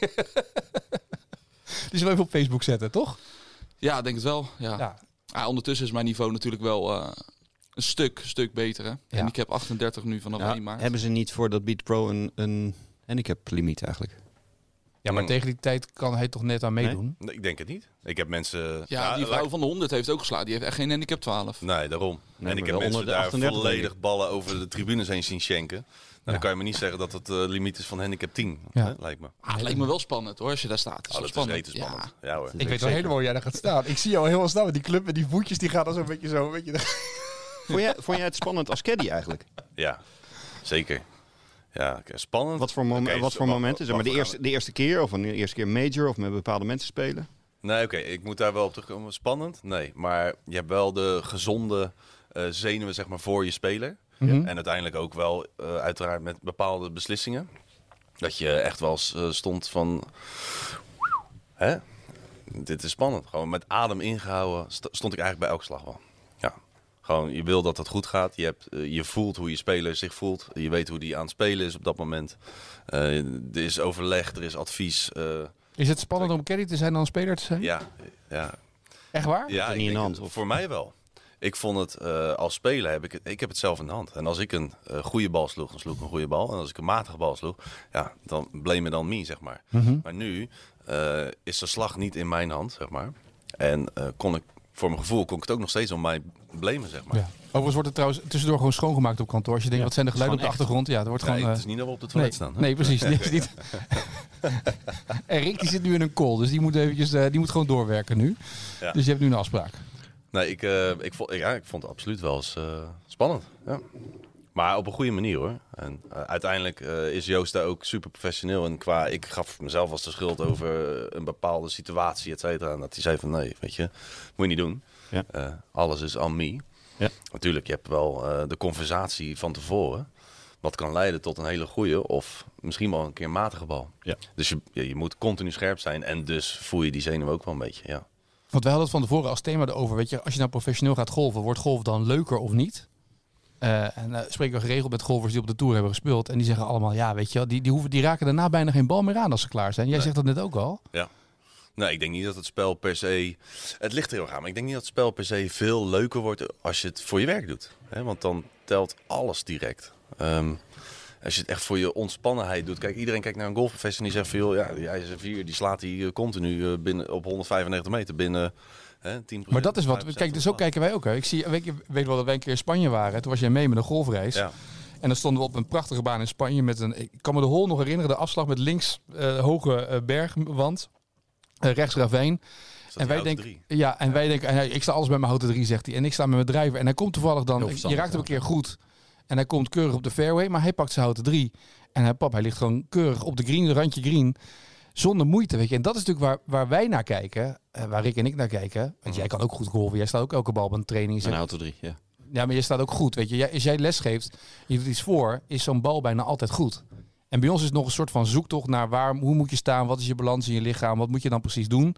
Speaker 2: zullen we even op Facebook zetten, toch?
Speaker 3: Ja, ik denk het wel. Ja.
Speaker 2: Ja.
Speaker 3: Ah, ondertussen is mijn niveau natuurlijk wel eh, een stuk, stuk beter. Hè? En ik heb 38 nu vanaf
Speaker 6: Ja,
Speaker 3: 1 maart.
Speaker 6: hebben ze niet voor dat Beat Pro een, een handicap limiet eigenlijk?
Speaker 2: Ja, maar
Speaker 1: Mm.
Speaker 2: tegen die tijd kan hij toch net aan meedoen.
Speaker 1: Nee, ik denk het niet. Ik heb mensen... nou,
Speaker 3: Ja, die
Speaker 1: laat-
Speaker 3: vrouw van de 100 heeft ook geslagen. Die heeft echt geen handicap 12.
Speaker 1: Nee, daarom.
Speaker 6: maar
Speaker 1: en ik heb
Speaker 6: wel
Speaker 1: mensen
Speaker 6: onder de
Speaker 1: daar
Speaker 6: 38 denk
Speaker 1: volledig ballen over de tribunes heen zien schenken. Nou,
Speaker 2: Ja.
Speaker 1: Dan kan je me niet zeggen dat het eh, limiet is van handicap 10,
Speaker 2: Ja.
Speaker 1: hè, lijkt me. Oh,
Speaker 3: Ah, het lijkt me wel spannend hoor, als je daar staat. Het is
Speaker 1: dat
Speaker 3: wel
Speaker 1: is
Speaker 3: spannend.
Speaker 1: rete spannend. Ja, hoor.
Speaker 2: Ik weet wel helemaal waar jij daar gaat staan. Ik zie jou heel snel met die club en die voetjes die gaan dan zo'n beetje zo. Weet je,
Speaker 6: Vond jij, vond jij het spannend als caddy eigenlijk?
Speaker 1: Ja, zeker. Ja, oké, spannend.
Speaker 6: Wat voor, mom-
Speaker 1: Oké,
Speaker 6: wat voor
Speaker 1: wa- wa-
Speaker 6: momenten? Zeg maar de
Speaker 1: wacht, nou,
Speaker 6: eerste, de eerste keer of een eerste keer major of met bepaalde mensen spelen?
Speaker 1: Nee, oké, ik moet daar wel op terugkomen. Spannend? Nee, maar je hebt wel de gezonde eh, zenuwen zeg maar, voor je speler. En uiteindelijk ook wel, eh, uiteraard, met bepaalde beslissingen. Dat je echt wel eens, eh, stond van... Hè? Dit is spannend. Gewoon met adem ingehouden st- stond ik eigenlijk bij elke slag wel. Ja. Gewoon, je wil dat het goed gaat. Je, hebt, eh, je voelt hoe je speler zich voelt. Je weet hoe die aan het spelen is op dat moment. Eh, er is overleg, er is advies. eh,
Speaker 2: Is het spannend om caddy te zijn dan speler te zijn?
Speaker 1: ja, ja,
Speaker 2: Echt waar?
Speaker 1: ja,
Speaker 6: het
Speaker 1: ik
Speaker 6: niet
Speaker 1: denk
Speaker 6: in de hand,
Speaker 1: het-
Speaker 6: of?
Speaker 1: Voor mij wel. Ik vond het eh, als speler heb ik het, ik heb het zelf in de hand. En als ik een eh, goede bal sloeg, dan sloeg ik een goede bal. En als ik een matige bal sloeg, ja, dan blame me dan me, zeg maar.
Speaker 6: Mhm.
Speaker 1: Maar nu eh, is de slag niet in mijn hand, zeg maar. En eh, kon ik, voor mijn gevoel, kon ik het ook nog steeds om mij blamen, zeg maar.
Speaker 2: Ja. Overigens wordt het trouwens tussendoor gewoon schoongemaakt op kantoor. Als je denkt, wat zijn de
Speaker 6: het is
Speaker 2: geluiden op de achtergrond? Ja, er wordt
Speaker 1: Nee,
Speaker 2: gewoon...
Speaker 1: het
Speaker 2: eh,
Speaker 1: is niet dat we op de toilet staan. hè?
Speaker 2: Nee, precies. Die is niet. en Rick die zit nu in een call, dus die moet, eventjes, eh, die moet gewoon doorwerken nu.
Speaker 1: Ja.
Speaker 2: Dus je hebt nu een afspraak.
Speaker 1: Nee, ik, eh, ik, vond, ja, ik vond het absoluut wel eens eh, spannend. Ja. Maar op een goede manier hoor. En eh, uiteindelijk eh, is Joost daar ook super professioneel in. Qua, ik gaf mezelf als de schuld over eh, een bepaalde situatie, et cetera. En dat hij zei van nee, weet je, moet je niet doen.
Speaker 6: Ja.
Speaker 1: Eh, alles is aan me.
Speaker 6: Ja.
Speaker 1: Natuurlijk, je hebt wel eh, de conversatie van tevoren. Wat kan leiden tot een hele goede of misschien wel een keer matige bal.
Speaker 6: Ja.
Speaker 1: Dus je, je, je moet continu scherp zijn. En dus voel je die zenuw ook wel een beetje. Ja.
Speaker 2: Want wij hadden het van tevoren als thema erover. Weet je, als je nou professioneel gaat golven, wordt golf dan leuker of niet? Eh, en eh, spreken we geregeld met golfers die op de Tour hebben gespeeld. En die zeggen allemaal, ja, weet je wel, die, die, hoeven, die raken daarna bijna geen bal meer aan als ze klaar zijn. Jij zegt dat net ook al.
Speaker 1: Nou, ik denk niet dat het spel per se. Het ligt er heel erg aan. Maar ik denk niet dat het spel per se veel leuker wordt als je het voor je werk doet. Hè? Want dan telt alles direct. Ehm, als je het echt voor je ontspannenheid doet. Kijk, iedereen kijkt naar een golfprofessional en die zegt van joh, ja, die is 4 die slaat die eh, continu eh, binnen, op 195 meter binnen hè, 10
Speaker 2: Maar dat is wat. Kijk, dus zo kijken wij ook. Hè. Ik zie, weet, je, weet wel dat wij een keer in Spanje waren. Toen was jij mee met een golfreis.
Speaker 1: Ja,
Speaker 2: En dan stonden we op een prachtige baan in Spanje. Met een, ik kan me de hol nog herinneren, de afslag met links eh, hoge eh, bergwand. eh, rechts ravijn.
Speaker 1: en
Speaker 2: wij
Speaker 1: wij
Speaker 2: denken-
Speaker 1: denken. Drie.
Speaker 2: Ja, en wij denken, en hij- ik sta alles bij mijn houten 3, zegt hij. En ik sta met mijn drijver. En hij komt toevallig dan,
Speaker 6: Heel
Speaker 2: je
Speaker 6: verstandig,
Speaker 2: raakt hem een keer goed. En hij komt keurig op de fairway, maar hij pakt zijn houten 3. En hij, pap, hij ligt gewoon keurig op de green, randje green. zonder moeite. Weet je. En dat is natuurlijk waar, waar wij naar kijken, eh, waar Rick en ik naar kijken. Want jij kan ook goed golven, jij staat ook elke bal op een training. Je
Speaker 6: Een
Speaker 2: zegt,
Speaker 6: auto 3, Mhm. ja.
Speaker 2: ja, maar je staat ook goed. Weet je. Jij, als jij lesgeeft, je doet iets voor, is zo'n bal bijna altijd goed. En bij ons is het nog een soort van zoektocht naar waar, hoe moet je staan, wat is je balans in je lichaam, wat moet je dan precies doen.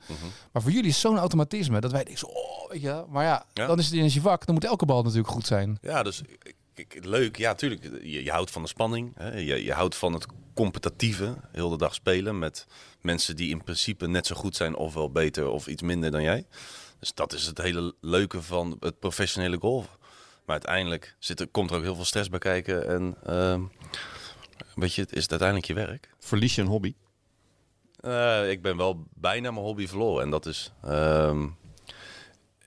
Speaker 2: Maar voor jullie is zo'n automatisme dat wij denken, zo, oh, weet je, wel. maar ja,
Speaker 1: Ja.
Speaker 2: dan is het in je vak, dan moet elke bal natuurlijk goed zijn.
Speaker 1: Ja, dus ik- ik- leuk. Ja, tuurlijk. Je, je houdt van de spanning. Hè? Je, je houdt van het competitieve. Heel de dag spelen met mensen die in principe net zo goed zijn of wel beter of iets minder dan jij. Dus dat is het hele leuke van het professionele golf. Maar uiteindelijk zit er, komt er ook heel veel stress bij kijken. En ehm, weet je, het is het uiteindelijk je werk.
Speaker 6: Verlies je een hobby?
Speaker 1: Eh, ik ben wel bijna mijn hobby verloren. En dat is. ehm,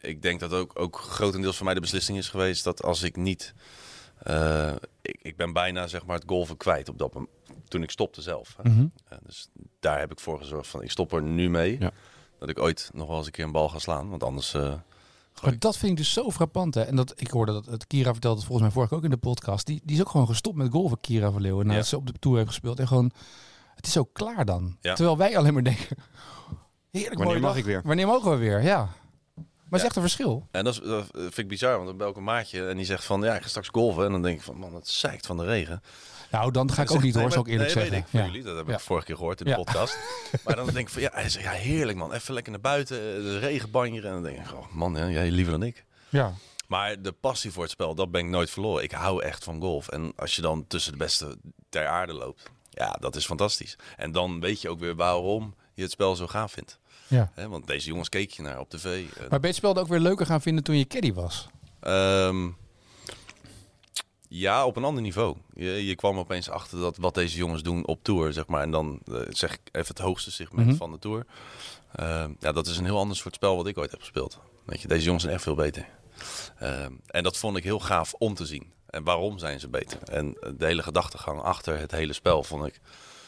Speaker 1: ik denk dat ook, ook grotendeels voor mij de beslissing is geweest dat als ik niet. eh, ik, ik ben bijna zeg maar het golven kwijt op dat moment. Toen ik stopte zelf. Hè. Eh, dus daar heb ik voor gezorgd van ik stop er nu mee.
Speaker 6: Ja.
Speaker 1: Dat ik ooit nog wel eens een keer een bal ga slaan. Want anders. eh,
Speaker 2: Maar dat vind ik dus zo frappant. Hè? En dat, ik hoorde dat het Kira vertelde, het volgens mij vorige keer ook in de podcast. Die, die is ook gewoon gestopt met golven, Kira van Leeuwen. Nadat
Speaker 1: Ja.
Speaker 2: ze op de Tour heeft gespeeld. En gewoon, het is ook klaar dan.
Speaker 1: Ja.
Speaker 2: Terwijl wij alleen maar denken, heerlijk
Speaker 6: Wanneer
Speaker 2: mooie
Speaker 6: mag
Speaker 2: dag.
Speaker 6: ik weer?
Speaker 2: Wanneer mogen we weer, ja. Maar het is
Speaker 1: Ja.
Speaker 2: echt een verschil.
Speaker 1: En dat, is, dat vind ik bizar, want dan bel ik een maatje en die zegt van ja, ik ga straks golven. En dan denk ik van man, het zeikt van de regen.
Speaker 2: Nou, dan ga ik ook niet hoor, zou ik
Speaker 1: Nee,
Speaker 2: eerlijk
Speaker 1: weet
Speaker 2: zeggen.
Speaker 1: ik van
Speaker 2: Ja.
Speaker 1: jullie. Dat heb
Speaker 2: Ja.
Speaker 1: ik vorige keer gehoord in de
Speaker 2: Ja.
Speaker 1: podcast. Maar dan denk ik van, ja, hij zegt, ja, heerlijk man. Even lekker naar buiten, eh, de regenbanjeren. En dan denk ik, oh man, hè, jij liever dan ik.
Speaker 2: Ja.
Speaker 1: Maar de passie voor het spel, dat ben ik nooit verloren. Ik hou echt van golf. En als je dan tussen de beste ter aarde loopt, ja, dat is fantastisch. En dan weet je ook weer waarom je het spel zo gaaf vindt.
Speaker 2: Ja.
Speaker 1: Hè, want deze jongens keek je naar op tv. eh,
Speaker 2: Maar ben je het spel dan ook weer leuker gaan vinden toen je caddy was?
Speaker 1: Ehm, ja, op een ander niveau. Je, je kwam opeens achter dat wat deze jongens doen op tour, zeg maar. En dan eh, zeg ik even het hoogste segment
Speaker 2: Mhm.
Speaker 1: van de tour. Ehm, ja, dat is een heel ander soort spel wat ik ooit heb gespeeld. Weet je, deze jongens zijn echt veel beter. Ehm, en dat vond ik heel gaaf om te zien. En waarom zijn ze beter? En eh, de hele gedachtegang achter het hele spel vond ik,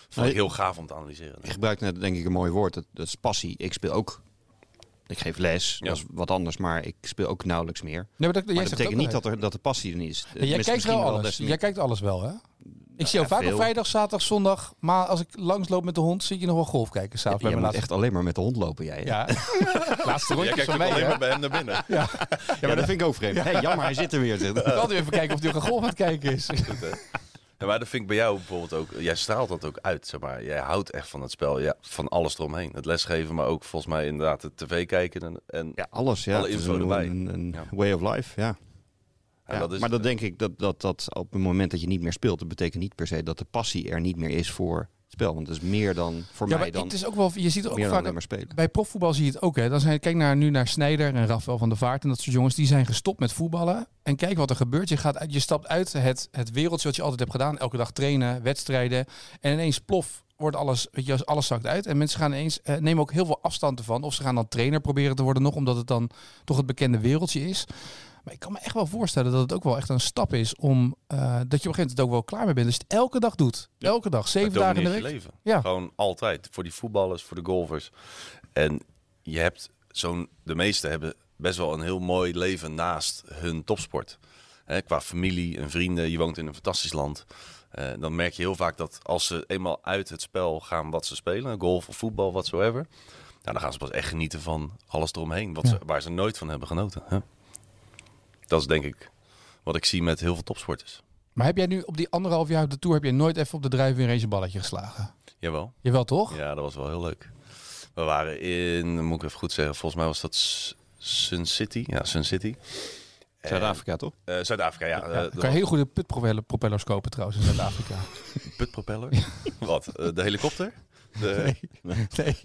Speaker 1: vond
Speaker 6: Nee.
Speaker 1: ik heel gaaf om te analyseren.
Speaker 6: Je gebruikt net denk ik een mooi woord. Dat, dat is passie. Ik speel ook. Ik geef les.
Speaker 1: Ja.
Speaker 6: Dat is wat anders, maar ik speel ook nauwelijks meer.
Speaker 2: Nee, maar dat, jij
Speaker 6: Maar
Speaker 2: zegt het
Speaker 6: dat betekent
Speaker 2: ook
Speaker 6: niet
Speaker 2: wel
Speaker 6: dat, er, dat de passie er niet is.
Speaker 2: even. Jij
Speaker 6: Tenminste,
Speaker 2: kijkt wel
Speaker 6: misschien
Speaker 2: alles.
Speaker 6: des te
Speaker 2: Jij
Speaker 6: meer.
Speaker 2: kijkt alles wel, hè? Ik zie jou
Speaker 6: ja,
Speaker 2: vaak op
Speaker 6: veel.
Speaker 2: vrijdag, zaterdag, zondag. Maar als ik langsloop met de hond, zie ik je nog wel golf kijken. S'avonds
Speaker 6: Jij
Speaker 2: bij
Speaker 6: moet
Speaker 2: mijn laatste
Speaker 6: echt alleen maar met de hond lopen, jij. hè?
Speaker 2: Ja. Laatste
Speaker 1: Jij
Speaker 2: rondje
Speaker 1: kijkt
Speaker 2: van
Speaker 1: ook
Speaker 2: mij.
Speaker 1: alleen
Speaker 2: hè?
Speaker 1: maar bij hem naar binnen.
Speaker 6: Ja, maar dat vind ik ook vreemd. Hey, jammer, hij zit er weer.
Speaker 2: Ik wil altijd even kijken of hij ook een golf aan het kijken is.
Speaker 1: Ja, maar dat vind ik bij jou bijvoorbeeld ook. Jij straalt dat ook uit, zeg maar. Jij houdt echt van het spel, ja, van alles eromheen. Het lesgeven, maar ook volgens mij inderdaad het tv kijken. En, en,
Speaker 6: Ja, alles. Ja.
Speaker 1: Alle
Speaker 6: Het is
Speaker 1: info
Speaker 6: een-
Speaker 1: erbij.
Speaker 6: Een, een
Speaker 1: Ja.
Speaker 6: way of life, ja.
Speaker 1: en
Speaker 6: Ja,
Speaker 1: dat is
Speaker 6: maar
Speaker 1: het.
Speaker 6: dat denk ik dat, dat dat op het moment dat je niet meer speelt, dat betekent niet per se dat de passie er niet meer is voor het spel. Want het is meer dan voor
Speaker 2: Ja, maar
Speaker 6: mij dan,
Speaker 2: het is ook wel, je ziet er ook
Speaker 6: meer dan alleen
Speaker 2: vaak...
Speaker 6: maar spelen.
Speaker 2: Bij profvoetbal zie je het ook. Hè. Dan zijn, kijk naar, nu naar Snijder en Rafael van der Vaart en dat soort jongens. Die zijn gestopt met voetballen. En kijk wat er gebeurt. Je, gaat uit, je stapt uit het, het wereldje wat je altijd hebt gedaan. Elke dag trainen, wedstrijden. En ineens plof wordt alles, weet je, alles zakt uit. En mensen gaan ineens, eh, nemen ook heel veel afstand ervan. Of ze gaan dan trainer proberen te worden nog. Omdat het dan toch het bekende wereldje is. Maar ik kan me echt wel voorstellen dat het ook wel echt een stap is om eh, dat je op een gegeven moment ook wel klaar mee bent. Dus je het elke dag doet. Elke dag. Zeven
Speaker 1: Dat
Speaker 2: dagen in de
Speaker 1: domineert
Speaker 2: week.
Speaker 1: je leven.
Speaker 2: Ja.
Speaker 1: Gewoon altijd. Voor die voetballers, voor de golfers. En je hebt zo'n... De meesten hebben best wel een heel mooi leven naast hun topsport. Hè, qua familie en vrienden. Je woont in een fantastisch land. Eh, dan merk je heel vaak dat als ze eenmaal uit het spel gaan wat ze spelen. Golf of voetbal, whatsoever. Nou, dan gaan ze pas echt genieten van alles eromheen. Wat ze, waar ze nooit van hebben genoten. Hè? Dat is denk ik wat ik zie met heel veel topsporters.
Speaker 2: Maar heb jij nu op die anderhalf jaar op de tour heb je nooit even op de drijf weer eens een balletje geslagen?
Speaker 1: Jawel.
Speaker 2: Jawel toch?
Speaker 1: Ja, dat was wel heel leuk. We waren in, moet ik even goed zeggen, volgens mij was dat S- Sun City. Ja, Sun City. En-
Speaker 6: Zuid-Afrika, toch?
Speaker 1: eh, Zuid-Afrika, ja.
Speaker 2: Ja,
Speaker 1: Eh,
Speaker 2: kan je heel goede putpropeller- propellers kopen trouwens in Zuid-Afrika.
Speaker 1: Putpropeller. Wat? eh, de helikopter? De...
Speaker 2: nee,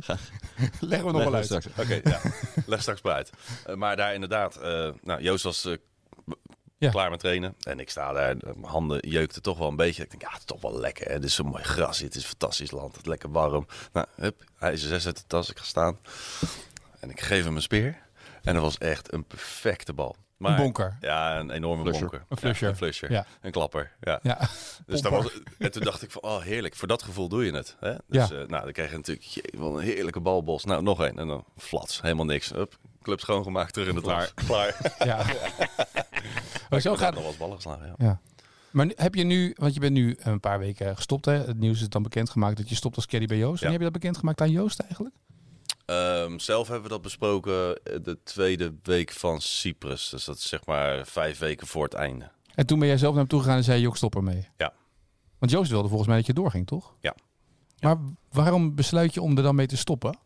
Speaker 2: leggen we nog wel uit.
Speaker 6: Straks.
Speaker 1: Oké, ja. Leg straks maar uit. Eh, maar daar inderdaad, eh, nou, Joost was eh, b-
Speaker 2: Ja.
Speaker 1: klaar met trainen. En ik sta daar, en mijn handen jeukten toch wel een beetje. Ik denk, ja, het is toch wel lekker. Hè? Dit is zo'n mooi gras, dit is een fantastisch land. Het is lekker warm. Nou, hup, hij is zes uit de tas, ik ga staan. En ik geef hem een speer. En dat was echt een perfecte bal. Maar,
Speaker 2: Een bonker.
Speaker 1: Ja, een enorme
Speaker 6: Flusher.
Speaker 1: bonker.
Speaker 2: Een flusher.
Speaker 1: Ja, een flusher.
Speaker 2: Ja.
Speaker 1: Een klapper, ja.
Speaker 2: Ja.
Speaker 1: Dus dan was, en toen dacht ik van, oh heerlijk, voor dat gevoel doe je het. Hè? Dus
Speaker 2: Ja.
Speaker 1: eh, nou, dan kreeg je natuurlijk jee, wat een heerlijke balbos. Nou, nog één. En dan flats, helemaal niks. Up, club schoongemaakt, terug in het klaar. klaar.
Speaker 2: Ja. Maar zo
Speaker 1: We hadden
Speaker 2: gaat
Speaker 1: nog wel eens ballen geslagen, ja.
Speaker 2: Ja. Maar nu- heb je nu, want je bent nu een paar weken gestopt, hè? Het nieuws is dan bekendgemaakt dat je stopt als caddy bij Joost. En
Speaker 1: Ja.
Speaker 2: heb je dat bekendgemaakt aan Joost eigenlijk?
Speaker 1: Ehm, zelf hebben we dat besproken eh, de tweede week van Cyprus. Dus dat is zeg maar vijf weken voor het einde.
Speaker 2: En toen ben jij zelf naar hem toe gegaan en zei: Jok, stop ermee.
Speaker 1: Ja.
Speaker 2: Want Joost wilde volgens mij dat je doorging, toch?
Speaker 1: Ja.
Speaker 2: Maar waarom besluit je om er dan mee te stoppen?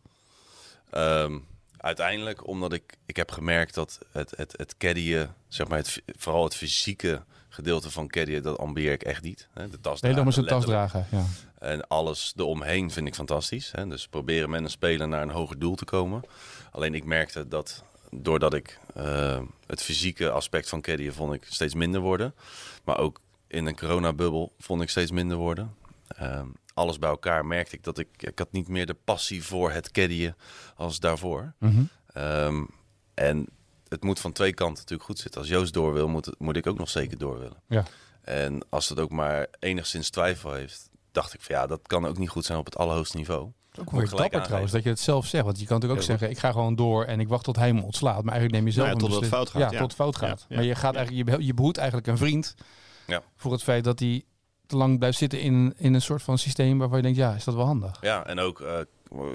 Speaker 1: Ehm, uiteindelijk, omdat ik, ik heb gemerkt dat het, het, het caddyen, zeg maar het, fy- vooral het fysieke gedeelte van caddyen, dat ambieer ik echt niet. Hè, De tas
Speaker 2: Nee, dan
Speaker 1: dragen,
Speaker 2: maar zo'n tas
Speaker 1: letterlijk.
Speaker 2: dragen. Ja.
Speaker 1: En alles eromheen vind ik fantastisch. Hè? Dus proberen met een speler naar een hoger doel te komen. Alleen ik merkte dat doordat ik eh, het fysieke aspect van caddyen vond ik steeds minder worden. Maar ook in een coronabubbel vond ik steeds minder worden. Ehm, alles bij elkaar merkte ik dat ik, ik had niet meer de passie voor het caddyen als daarvoor.
Speaker 2: Mhm.
Speaker 1: Ehm, en het moet van twee kanten natuurlijk goed zitten. Als Joost door wil, moet, het- moet ik ook nog zeker door willen.
Speaker 2: Ja.
Speaker 1: En als het ook maar enigszins twijfel heeft, dacht ik van ja, dat kan ook niet goed zijn op het allerhoogste niveau.
Speaker 2: Ook wel
Speaker 1: gelijk
Speaker 2: dapper trouwens
Speaker 1: aangeven.
Speaker 2: dat je het zelf zegt. Want je kan natuurlijk ook
Speaker 7: Heel
Speaker 2: zeggen, ik ga gewoon door en ik wacht tot hij me ontslaat. Maar eigenlijk neem je zelf
Speaker 7: Nou ja,
Speaker 2: een
Speaker 7: totdat het fout
Speaker 2: beslis-
Speaker 7: gaat,
Speaker 2: Ja,
Speaker 7: ja.
Speaker 2: tot het fout gaat.
Speaker 7: Ja, ja.
Speaker 2: Maar je, gaat
Speaker 7: Ja.
Speaker 2: eigenlijk, je beh- je behoedt eigenlijk een vriend
Speaker 1: Ja.
Speaker 2: voor het feit dat hij te lang blijft zitten in, in een soort van systeem waarvan je denkt, ja, is dat wel handig?
Speaker 1: Ja, en ook, eh,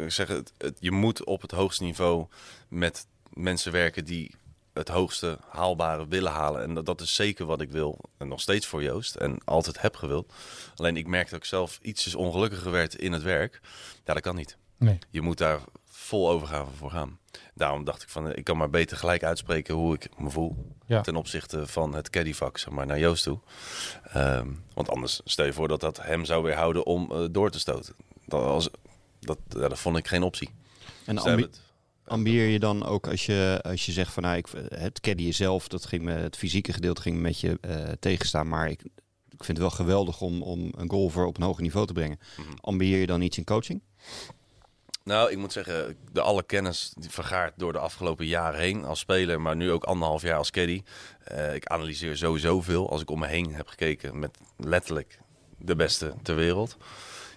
Speaker 1: ik zeg het, het- je moet op het hoogste niveau met mensen werken die het hoogste haalbare willen halen. En dat, dat is zeker wat ik wil en nog steeds voor Joost en altijd heb gewild. Alleen ik merk dat ik zelf ietsjes ongelukkiger werd in het werk. Ja, dat kan niet.
Speaker 2: Nee.
Speaker 1: Je moet daar vol overgave voor gaan. Daarom dacht ik van, eh, ik kan maar beter gelijk uitspreken hoe ik me voel.
Speaker 2: Ja.
Speaker 1: Ten opzichte van het caddyvak, zeg maar, naar Joost toe. Ehm, want anders stel je voor dat dat hem zou weerhouden om eh, door te stoten. Dat, als, dat, ja, dat vond ik geen optie.
Speaker 6: En
Speaker 1: Ze hebben
Speaker 6: ambi
Speaker 1: het-
Speaker 6: ambieer je dan ook als je, als je zegt van nou, ik, het caddyen zelf, dat ging me, het fysieke gedeelte ging me met je eh, tegenstaan. Maar ik, ik vind het wel geweldig om, om een golfer op een hoger niveau te brengen.
Speaker 1: Mhm.
Speaker 6: Ambieer je dan iets in coaching?
Speaker 1: Nou, ik moet zeggen, de alle kennis die vergaard door de afgelopen jaren heen als speler, maar nu ook anderhalf jaar als caddy. Eh, ik analyseer sowieso veel als ik om me heen heb gekeken met letterlijk de beste ter wereld.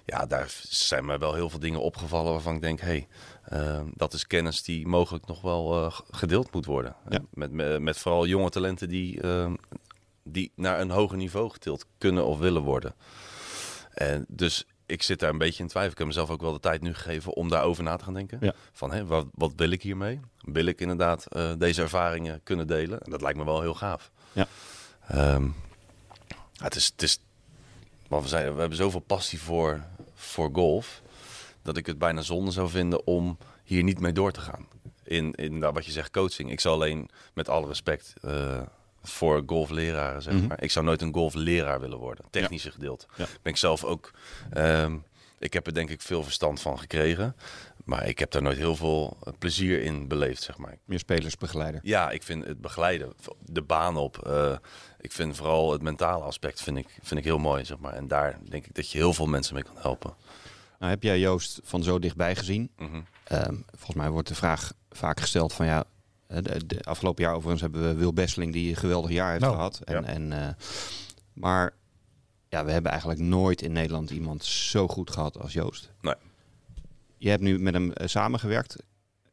Speaker 1: Ja, daar zijn mij wel heel veel dingen opgevallen waarvan ik denk, hé, hey, eh, dat is kennis die mogelijk nog wel eh, g- gedeeld moet worden. Eh,
Speaker 6: Ja.
Speaker 1: Met, met, met vooral jonge talenten die, ehm, die naar een hoger niveau getild kunnen of willen worden. En dus ik zit daar een beetje in twijfel. Ik heb mezelf ook wel de tijd nu gegeven om daarover na te gaan denken.
Speaker 6: Ja.
Speaker 1: Van hé, wat, wat wil ik hiermee? Wil ik inderdaad eh, deze ervaringen kunnen delen? En dat lijkt me wel heel gaaf.
Speaker 6: Ja.
Speaker 1: Ehm, ja, het is, het is wat we zeiden, we hebben zoveel passie voor, voor golf. Dat ik het bijna zonde zou vinden om hier niet mee door te gaan. In, in nou, wat je zegt, coaching. Ik zou alleen met alle respect eh, voor golfleraren, zeg
Speaker 6: Mhm.
Speaker 1: maar. Ik zou nooit een golfleraar willen worden. Technische gedeelte.
Speaker 7: Ja.
Speaker 1: Ben ik zelf ook. ehm, ik heb er denk ik veel verstand van gekregen. Maar ik heb daar nooit heel veel eh, plezier in beleefd, zeg maar.
Speaker 6: Meer spelersbegeleider.
Speaker 1: Ja, ik vind het begeleiden, de baan op. eh, ik vind vooral het mentale aspect vind ik, vind ik heel mooi, zeg maar. En daar denk ik dat je heel veel mensen mee kan helpen.
Speaker 6: Nou, heb jij Joost van zo dichtbij gezien?
Speaker 1: Mhm.
Speaker 6: Ehm, volgens mij wordt de vraag vaak gesteld van ja, eh, de, de afgelopen jaar overigens hebben we Wil Besseling die een geweldig jaar heeft
Speaker 2: Nou,
Speaker 6: gehad. En,
Speaker 1: ja.
Speaker 6: en, eh, maar ja, we hebben eigenlijk nooit in Nederland iemand zo goed gehad als Joost.
Speaker 1: Nee.
Speaker 6: Je hebt nu met hem eh, samengewerkt.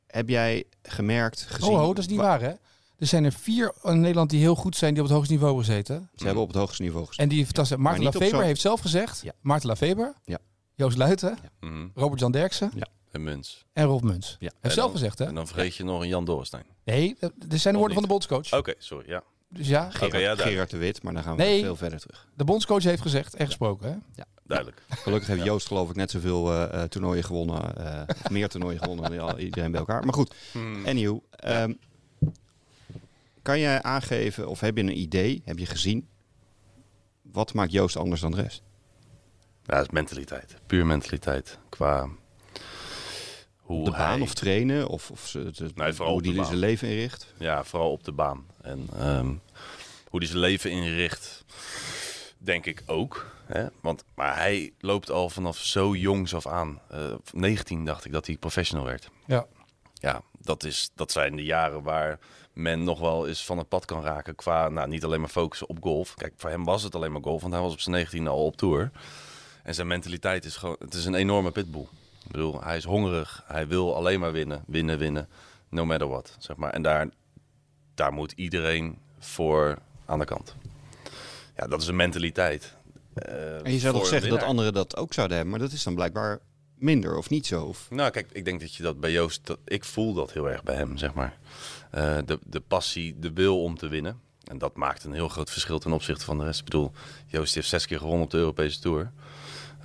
Speaker 6: Heb jij gemerkt, gezien...
Speaker 2: Oh, ho, dat is niet
Speaker 6: wa-
Speaker 2: waar hè? Er zijn er vier in Nederland die heel goed zijn, die op het hoogste niveau hebben gezeten.
Speaker 6: Ze hebben op het hoogste niveau gespeeld.
Speaker 2: En die fantastisch. Maarten
Speaker 6: niet op
Speaker 2: Lafeber
Speaker 6: zo'n-
Speaker 2: heeft zelf gezegd,
Speaker 6: Ja.
Speaker 2: Maarten Lafeber,
Speaker 6: Ja.
Speaker 2: Joost Luiten,
Speaker 1: Mhm.
Speaker 2: Robert-Jan Derksen
Speaker 1: En Muns.
Speaker 2: en Rolf Muns.
Speaker 6: Ja.
Speaker 2: Heeft
Speaker 1: En
Speaker 2: zelf
Speaker 1: dan-
Speaker 2: gezegd hè?
Speaker 1: En dan vergeet je nog een Jan Dorrestein.
Speaker 2: Nee, dat dat zijn de
Speaker 1: Of
Speaker 2: woorden van de bondscoach.
Speaker 1: Oké, sorry, ja.
Speaker 2: Dus ja,
Speaker 1: Oké, ja, duidelijk.
Speaker 6: Gerard de Wit, maar dan gaan we
Speaker 2: Nee.
Speaker 6: veel verder terug.
Speaker 2: de bondscoach heeft gezegd en gesproken. Hè?
Speaker 1: duidelijk.
Speaker 6: Gelukkig heeft Joost geloof ik net zoveel eh, eh, toernooien gewonnen. eh, of meer toernooien gewonnen dan al- iedereen bij elkaar. Maar goed,
Speaker 1: Hmm.
Speaker 6: anyhow. ehm, kan jij aangeven of heb je een idee, heb je gezien... wat maakt Joost anders dan de rest?
Speaker 1: Ja, dat is mentaliteit. Puur mentaliteit. Qua hoe
Speaker 6: de baan
Speaker 1: hij-
Speaker 6: of trainen? Of, of ze- het-
Speaker 1: Nee, vooral
Speaker 6: hoe
Speaker 1: op de
Speaker 6: hij
Speaker 1: baan.
Speaker 6: zijn leven inricht?
Speaker 1: Ja, vooral op de baan. En ehm, hoe hij zijn leven inricht, denk ik ook. Hè? Want, maar hij loopt al vanaf zo jongs af aan. Eh, op 19 dacht ik dat hij professional werd.
Speaker 2: Ja.
Speaker 1: Ja, dat, is, dat zijn de jaren waar men nog wel eens van het pad kan raken. Qua nou, niet alleen maar focussen op golf. Kijk, voor hem was het alleen maar golf, want hij was op zijn 19 al op tour. En zijn mentaliteit is gewoon, het is een enorme pitbull. Ik bedoel, hij is hongerig. Hij wil alleen maar winnen, winnen, winnen. No matter what, zeg maar. En daar, daar moet iedereen voor aan de kant. Ja, Ja, dat is een mentaliteit. eh,
Speaker 6: En je
Speaker 1: voor
Speaker 6: zou toch
Speaker 1: een
Speaker 6: zeggen dat
Speaker 1: winnaar.
Speaker 6: anderen dat ook zouden hebben, maar dat is dan blijkbaar minder of niet zo. Of...
Speaker 1: Nou, kijk, ik denk dat je dat bij Joost... Dat, ik voel dat heel erg bij hem, zeg maar. Eh, de, de passie, de wil om te winnen. En dat maakt een heel groot verschil ten opzichte van de rest. Ik bedoel, Joost heeft zes keer gewonnen op de Europese Tour.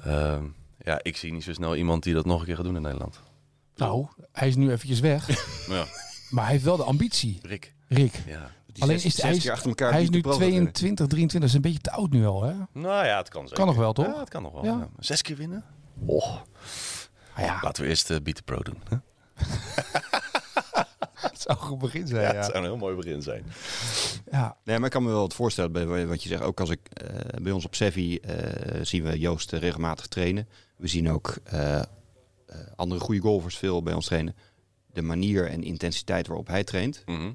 Speaker 1: Ehm, ja, ik zie niet zo snel iemand die dat nog een keer gaat doen in Nederland.
Speaker 2: Nou, hij is nu eventjes weg.
Speaker 1: Ja,
Speaker 2: maar hij heeft wel de ambitie,
Speaker 1: Rick.
Speaker 2: Rick.
Speaker 1: Ja.
Speaker 6: Die
Speaker 2: Alleen
Speaker 6: zes-
Speaker 2: is de-
Speaker 6: zes
Speaker 2: hij is-
Speaker 6: keer achter elkaar
Speaker 2: hij is
Speaker 6: niet
Speaker 2: nu
Speaker 6: de pro gaat winnen.
Speaker 2: 22, 23. Dat is een beetje te oud nu al, hè? Nou
Speaker 1: Nou ja, het kan zeker.
Speaker 2: Kan nog wel, toch?
Speaker 1: Ja, het kan nog wel.
Speaker 2: Ja.
Speaker 1: ja. Zes keer winnen? Och,
Speaker 2: Ah, ja,
Speaker 1: laten we eerst eh, Beat the Pro doen. hè?
Speaker 2: dat zou een goed begin zijn,
Speaker 1: Ja,
Speaker 2: ja.
Speaker 1: het zou een heel mooi begin zijn.
Speaker 2: Ja,
Speaker 6: Nee, maar ik kan me wel wat voorstellen bij wat je zegt. Ook als ik eh, bij ons op Sevi eh, zien we Joost eh, regelmatig trainen. We zien ook eh, eh, andere goede golfers veel bij ons trainen. De manier en intensiteit waarop hij traint
Speaker 1: Mhm.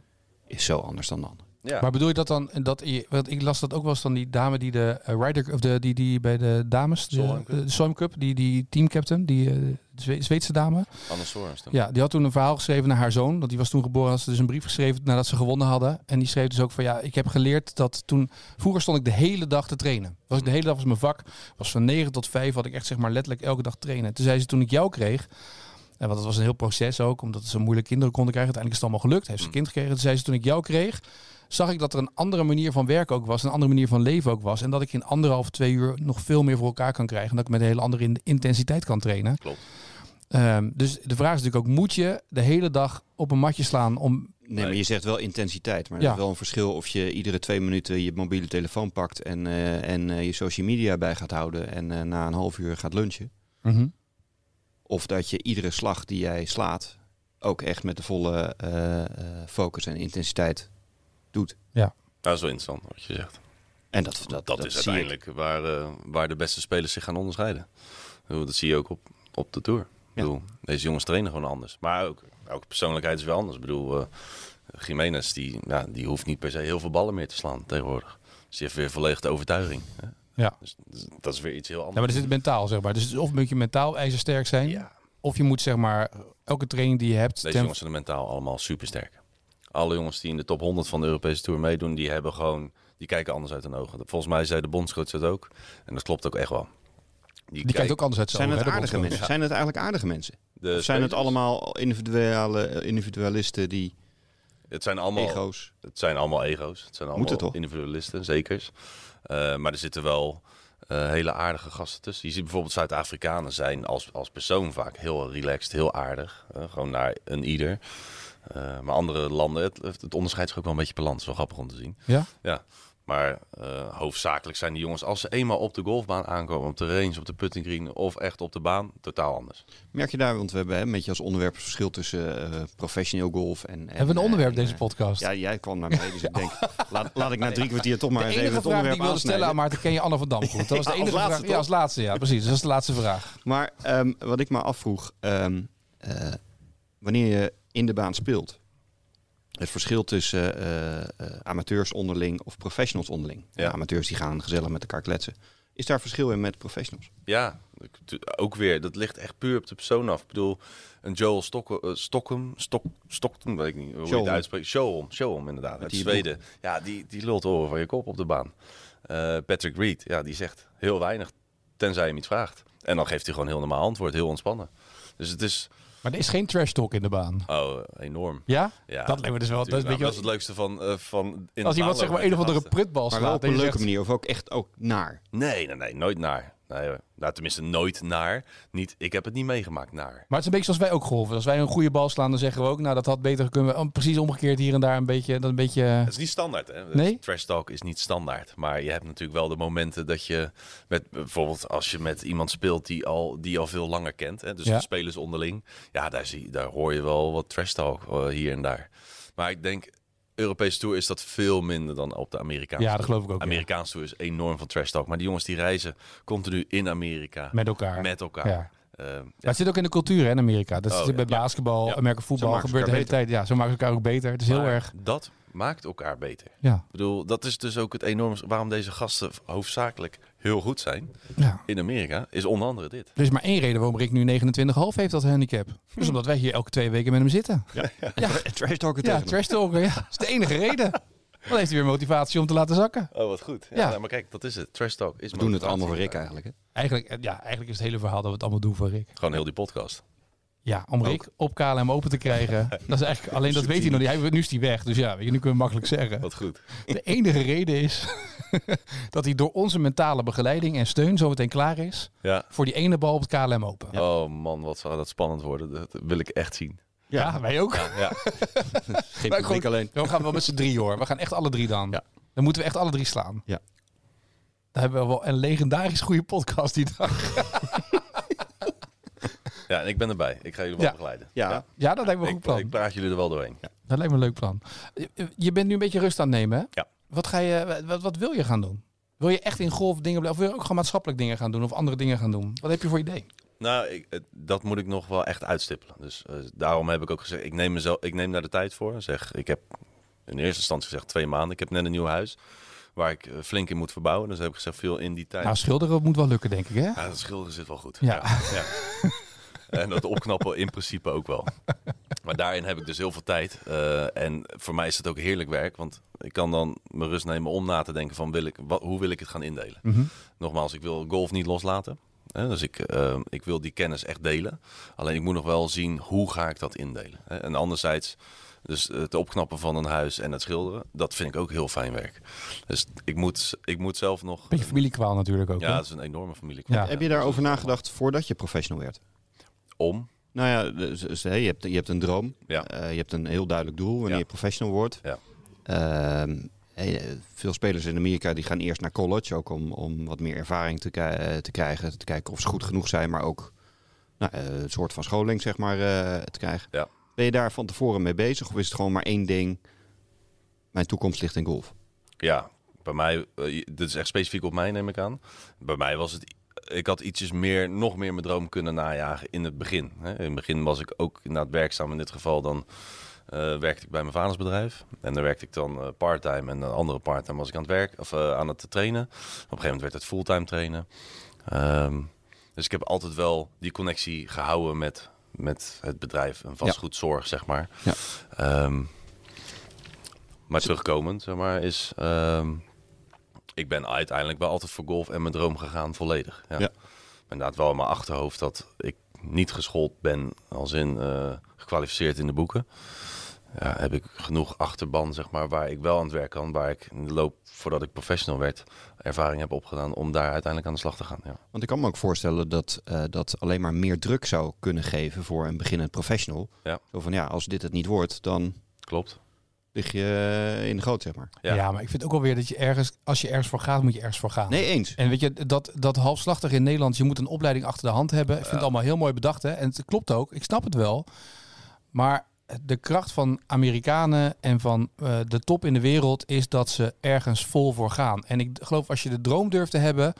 Speaker 6: is zo anders dan de ander.
Speaker 1: Ja.
Speaker 2: Maar bedoel je dat dan, dat je, want ik las dat ook wel eens dan die dame die de eh, Ryder, of de, die, die bij de dames, de,
Speaker 1: Solheim Cup.
Speaker 2: de Solheim Cup, die, die teamcaptain, die eh, Zwe- Zweedse dame.
Speaker 1: Anders Sorensen.
Speaker 2: Ja, die had toen een verhaal geschreven naar haar zoon, want die was toen geboren, had ze dus een brief geschreven nadat ze gewonnen hadden. En die schreef dus ook van, ja, ik heb geleerd dat toen, vroeger stond ik de hele dag te trainen. Was ik de hele dag was mijn vak, was van 9 tot 5, had ik echt zeg maar letterlijk elke dag trainen. Toen zei ze, toen ik jou kreeg, en want dat was een heel proces ook, omdat ze moeilijk kinderen konden krijgen. Uiteindelijk is het allemaal gelukt. Heeft ze een kind gekregen. Toen zei ze, toen ik jou kreeg, zag ik dat er een andere manier van werken ook was. Een andere manier van leven ook was. En dat ik in anderhalf, twee uur nog veel meer voor elkaar kan krijgen. En dat ik met een hele andere in- intensiteit kan trainen.
Speaker 1: Klopt.
Speaker 2: Ehm, dus de vraag is natuurlijk ook, moet je de hele dag op een matje slaan om...
Speaker 6: Nee, maar je zegt wel intensiteit. Maar
Speaker 2: Ja.
Speaker 6: er is wel een verschil of je iedere twee minuten je mobiele telefoon pakt en, eh, en eh, je social media bij gaat houden en eh, na een half uur gaat lunchen. Of dat je iedere slag die jij slaat ook echt met de volle eh, eh, focus en intensiteit
Speaker 1: Dat is wel interessant wat je zegt.
Speaker 6: En dat, dat,
Speaker 1: Dat,
Speaker 6: dat,
Speaker 1: is
Speaker 6: zie ik.
Speaker 1: uiteindelijk waar, eh, waar de beste spelers zich gaan onderscheiden. Ik bedoel, Dat zie je ook op, op de Tour. Ik
Speaker 6: Ja.
Speaker 1: bedoel, deze jongens trainen gewoon anders. Maar ook, ook persoonlijkheid is wel anders. Ik bedoel, eh Jiménez die, ja, die hoeft niet per se heel veel ballen meer te slaan tegenwoordig. Dus die heeft weer volledig de overtuiging. Hè?
Speaker 2: Ja.
Speaker 1: Dus, dus dat is weer iets heel
Speaker 2: Ja, Nou, maar
Speaker 1: anders.
Speaker 2: er zit mentaal, zeg maar. Dus het is of moet je mentaal ijzersterk zijn...
Speaker 1: Ja.
Speaker 2: Of je moet zeg maar elke training die je hebt.
Speaker 1: Deze
Speaker 2: ten-
Speaker 1: jongens zijn mentaal allemaal supersterk. Alle jongens die in de top 100 van de Europese Tour meedoen, die hebben gewoon, die kijken anders uit hun ogen. Volgens mij zei de bondscoach dat ook. En dat klopt ook echt wel.
Speaker 2: die kijkt ook anders uit zijn
Speaker 6: Zijn het
Speaker 2: ogen, hè, de
Speaker 6: aardige
Speaker 2: bondscoach.
Speaker 6: mensen? Zijn het eigenlijk aardige mensen?
Speaker 1: de
Speaker 6: Of zijn het
Speaker 1: spelers.
Speaker 6: allemaal individuele, eh, individualisten die
Speaker 1: Het zijn allemaal
Speaker 6: ego's?
Speaker 1: Het zijn allemaal ego's. Het zijn allemaal
Speaker 6: het toch?
Speaker 1: individualisten, zeker. Eh, maar er zitten wel eh, hele aardige gasten tussen. Je ziet bijvoorbeeld Zuid-Afrikanen zijn als, als persoon vaak heel relaxed, heel aardig. eh, gewoon naar een ieder. Eh, maar andere landen, het, het onderscheid is ook wel een beetje per land. Dat is wel grappig om te zien.
Speaker 2: Ja?
Speaker 1: Ja, maar eh, hoofdzakelijk zijn die jongens, als ze eenmaal op de golfbaan aankomen, op de range, op de putting green of echt op de baan, totaal anders.
Speaker 6: Merk je daar, want we hebben hè, een beetje als onderwerp het verschil tussen eh, professioneel golf en... en
Speaker 2: Hebben we een
Speaker 6: eh,
Speaker 2: onderwerp
Speaker 6: en,
Speaker 2: deze
Speaker 6: eh,
Speaker 2: podcast?
Speaker 6: Ja, jij kwam naar beneden, dus ik denk, laat, laat ik
Speaker 1: Nou
Speaker 6: na drie kwartier toch maar
Speaker 2: de
Speaker 6: eens even
Speaker 2: enige
Speaker 6: het
Speaker 2: vraag die
Speaker 6: onderwerp
Speaker 2: ik wilde stellen aan
Speaker 6: aansnijden.
Speaker 2: Maarten, ken je Anne van Dam goed? Dat was de
Speaker 6: Ja, als
Speaker 2: enige
Speaker 6: laatste,
Speaker 2: vraag. Ja,
Speaker 6: toch?
Speaker 2: als laatste, ja, precies. Dat is de laatste vraag.
Speaker 6: Maar ehm, wat ik me afvroeg, ehm, eh, wanneer je in de baan speelt, het verschil tussen eh, eh, amateurs onderling of professionals onderling. Nou,
Speaker 1: Ja.
Speaker 6: Amateurs die gaan gezellig met elkaar kletsen. Is daar verschil in met professionals?
Speaker 1: Ja, ik- tu- ook weer. Dat ligt echt puur op de persoon af. Ik bedoel, een Joel Stock, eh, Stockham, Stock, Stockton, weet ik niet hoe je
Speaker 6: Sjoholm.
Speaker 1: het uitspreekt. Showholm, Showholm inderdaad, uit
Speaker 6: die
Speaker 1: Zweden. Ja, die, die lult de oren van je kop op de baan. Eh, Patrick Reed, ja, die zegt heel weinig, tenzij je hem iets vraagt. En dan geeft hij gewoon heel normaal antwoord, heel ontspannen. Dus het is
Speaker 2: Maar er is geen trash talk in de baan.
Speaker 1: oh, enorm.
Speaker 2: Ja?
Speaker 1: Ja,
Speaker 2: dat lijkt me dus wel. Dat
Speaker 1: Tuurlijk,
Speaker 2: is een
Speaker 1: nou,
Speaker 2: beetje
Speaker 1: dat is het leukste van... eh, van in
Speaker 2: als
Speaker 1: het
Speaker 2: iemand zeg maar
Speaker 1: aanloop
Speaker 2: een of
Speaker 1: met die
Speaker 2: andere
Speaker 1: gasten.
Speaker 2: prutbal
Speaker 6: Maar wel
Speaker 2: slaat.
Speaker 6: op een leuke manier of ook echt ook naar.
Speaker 1: Nee, nee, nee, nooit naar. Nee, hoor. nou, tenminste, nooit naar. Niet, ik heb het niet meegemaakt naar.
Speaker 2: Maar het is een beetje zoals wij ook golven. Als wij een goede bal slaan, dan zeggen we ook, nou dat had beter kunnen. Oh, precies omgekeerd hier en daar een beetje. Dat een beetje...
Speaker 1: Het is niet standaard, hè? Dus
Speaker 2: Nee?
Speaker 1: Trash talk is niet standaard. Maar je hebt natuurlijk wel de momenten dat je... Met, bijvoorbeeld als je met iemand speelt die al, die je al veel langer kent. Hè? Dus
Speaker 2: Ja.
Speaker 1: de spelers onderling. Ja, daar, zie, daar hoor je wel wat trash talk eh, hier en daar. Maar ik denk, Europese Tour is dat veel minder dan op de Amerikaanse
Speaker 2: Ja, dat
Speaker 1: Tour.
Speaker 2: geloof ik ook, ja.
Speaker 1: Amerikaanse Tour is enorm van trash talk. Maar die jongens die reizen continu in Amerika.
Speaker 2: Met elkaar.
Speaker 1: Met elkaar.
Speaker 2: Ja.
Speaker 1: Ehm, ja.
Speaker 2: Maar het zit ook in de cultuur hè, in Amerika. Dat
Speaker 1: Oh,
Speaker 2: zit
Speaker 1: ja.
Speaker 2: bij
Speaker 1: Ja.
Speaker 2: basketbal,
Speaker 1: Ja.
Speaker 2: Amerika voetbal,
Speaker 6: maken ze
Speaker 2: gebeurt de hele
Speaker 6: elkaar
Speaker 2: tijd. Ja, zo maken ze elkaar ook beter. Het is heel
Speaker 1: Maar
Speaker 2: erg.
Speaker 1: Dat maakt elkaar beter.
Speaker 2: Ja.
Speaker 1: Ik bedoel, dat is dus ook het enorme waarom deze gasten hoofdzakelijk heel goed zijn
Speaker 2: ja.
Speaker 1: in Amerika, is onder andere dit.
Speaker 2: Er is maar één reden waarom Rick nu 29,5 heeft, dat handicap.
Speaker 1: Hm.
Speaker 2: Dus omdat wij hier elke twee weken met hem zitten. Ja,
Speaker 6: Trash talken
Speaker 2: ja
Speaker 6: tegen hem.
Speaker 2: trash talken, ja. Dat is de enige reden. Dan heeft hij weer motivatie om te laten zakken.
Speaker 1: Oh, wat goed. Ja,
Speaker 2: Ja.
Speaker 1: nou, maar kijk, dat is het. Trash talk is
Speaker 6: We doen het
Speaker 1: motivatie.
Speaker 6: allemaal voor Rick eigenlijk. Hè?
Speaker 2: Eigenlijk, eh, ja, eigenlijk is het hele verhaal dat we het allemaal doen voor Rick.
Speaker 1: Gewoon heel die podcast.
Speaker 2: Ja, om Rick op KLM open te krijgen. Dat is eigenlijk, alleen dat weet hij nog niet. Hij, nu is hij weg, dus ja, weet je, nu kunnen we makkelijk zeggen.
Speaker 1: Wat goed.
Speaker 2: De enige reden is dat hij door onze mentale begeleiding en steun zometeen klaar is
Speaker 1: Ja.
Speaker 2: voor die ene bal op het KLM open. Ja,
Speaker 1: Oh man, wat zou dat spannend worden. Dat wil ik echt zien.
Speaker 2: wij ook.
Speaker 1: Ja.
Speaker 6: Geen
Speaker 2: Maar
Speaker 6: publiek
Speaker 2: goed.
Speaker 6: alleen.
Speaker 2: We gaan wel met z'n drie hoor. We gaan echt alle drie dan.
Speaker 6: Ja.
Speaker 2: Dan moeten we echt alle drie slaan.
Speaker 6: Ja.
Speaker 2: Dan hebben we wel een legendarisch goede podcast die dag.
Speaker 1: ja, en ik ben erbij. Ik ga jullie wel
Speaker 2: Ja.
Speaker 1: begeleiden.
Speaker 6: Ja,
Speaker 2: Ja, dat lijkt me een goed
Speaker 1: Ik,
Speaker 2: plan.
Speaker 1: ik praat jullie er wel doorheen.
Speaker 2: Dat lijkt me een leuk plan. Je- Je bent nu een beetje rust aan het nemen, hè?
Speaker 1: Ja.
Speaker 2: Wat, ga je, wat, wat wil je gaan doen? Wil je echt in golf dingen blijven? Of wil je ook gewoon maatschappelijk dingen gaan doen? Of andere dingen gaan doen? Wat heb je voor idee?
Speaker 1: Nou, ik, het- dat moet ik nog wel echt uitstippelen. Dus eh, daarom heb ik ook gezegd, ik neem, mezelf, ik neem daar de tijd voor. Zeg, ik heb in eerste instantie gezegd twee maanden. Ik heb net een nieuw huis waar ik eh, flink in moet verbouwen. Dus heb ik gezegd, veel in die tijd.
Speaker 2: Nou, schilderen moet wel lukken, denk ik, hè?
Speaker 1: ja, dat schilderen zit wel goed.
Speaker 2: Ja.
Speaker 1: ja. En dat opknappen in principe ook wel. Maar daarin heb ik dus heel veel tijd. Eh, en voor mij is het ook heerlijk werk. Want ik kan dan mijn rust nemen om na te denken van wil ik, wat, hoe wil ik het gaan indelen.
Speaker 2: Mhm.
Speaker 1: Nogmaals, ik wil golf niet loslaten. Hè, dus ik, eh, ik wil die kennis echt delen. Alleen ik moet nog wel zien hoe ga ik dat indelen. Hè. En anderzijds, dus eh, het opknappen van een huis en het schilderen, dat vind ik ook heel fijn werk. Dus ik moet, ik moet zelf nog.
Speaker 2: Beetje familiekwaal natuurlijk ook.
Speaker 1: Ja,
Speaker 2: hè?
Speaker 1: dat is een enorme familie.
Speaker 2: Ja.
Speaker 6: Heb je daarover nagedacht voordat je professional werd?
Speaker 1: Om.
Speaker 6: Nou ja, dus, dus, hè, je, hebt, je hebt een droom.
Speaker 1: Ja.
Speaker 6: Eh, je hebt een heel duidelijk doel wanneer
Speaker 1: Ja.
Speaker 6: je professional wordt.
Speaker 1: Ja.
Speaker 6: Ehm, eh, veel spelers in Amerika die gaan eerst naar college. Ook om, om wat meer ervaring te, ki- eh, te krijgen. Te kijken of ze goed genoeg zijn. Maar ook nou, eh, een soort van scholing zeg maar, eh, te krijgen.
Speaker 1: Ja.
Speaker 6: Ben je daar van tevoren mee bezig? Of is het gewoon maar één ding? Mijn toekomst ligt in golf.
Speaker 1: Ja, bij mij, eh, je- dit is echt specifiek op mij, neem ik aan. Bij mij was het, ik had ietsjes meer, nog meer mijn droom kunnen najagen in het begin. Hè. In het begin was ik ook inderdaad werkzaam. In dit geval dan eh, werkte ik bij mijn vaders bedrijf. En daar werkte ik dan eh, part-time. En een andere part-time was ik aan het werk, of eh, aan het trainen. Op een gegeven moment werd het fulltime trainen. Ehm, dus ik heb altijd wel die connectie gehouden met, met het bedrijf. Een vastgoedzorg, zeg maar.
Speaker 6: Ja.
Speaker 1: Ehm, maar terugkomend, zeg maar, is... ehm, ik ben uiteindelijk wel altijd voor golf en mijn droom gegaan, volledig. Ja.
Speaker 6: Ja.
Speaker 1: Maar inderdaad wel in mijn achterhoofd dat ik niet geschoold ben als in eh, gekwalificeerd in de boeken. Ja, heb ik genoeg achterban, zeg maar, waar ik wel aan het werk kan. Waar ik in de loop, voordat ik professional werd, ervaring heb opgedaan om daar uiteindelijk aan de slag te gaan. Ja.
Speaker 6: Want ik kan me ook voorstellen dat eh, dat alleen maar meer druk zou kunnen geven voor een beginnend professional.
Speaker 1: Ja.
Speaker 6: Zo van ja, als dit het niet wordt, dan
Speaker 1: Klopt.
Speaker 6: lig je eh, in de goot, zeg maar.
Speaker 1: Ja.
Speaker 2: Ja. maar ik vind ook wel weer dat je ergens, als je ergens voor gaat, moet je ergens voor gaan.
Speaker 6: Nee, eens.
Speaker 2: En weet je, dat, dat halfslachtig in Nederland, je moet een opleiding achter de hand hebben. Ik vind het allemaal heel mooi bedacht, hè. En het klopt ook, ik snap het wel. Maar de kracht van Amerikanen en van eh, de top in de wereld is dat ze ergens vol voor gaan. En ik d- geloof als je de droom durft te hebben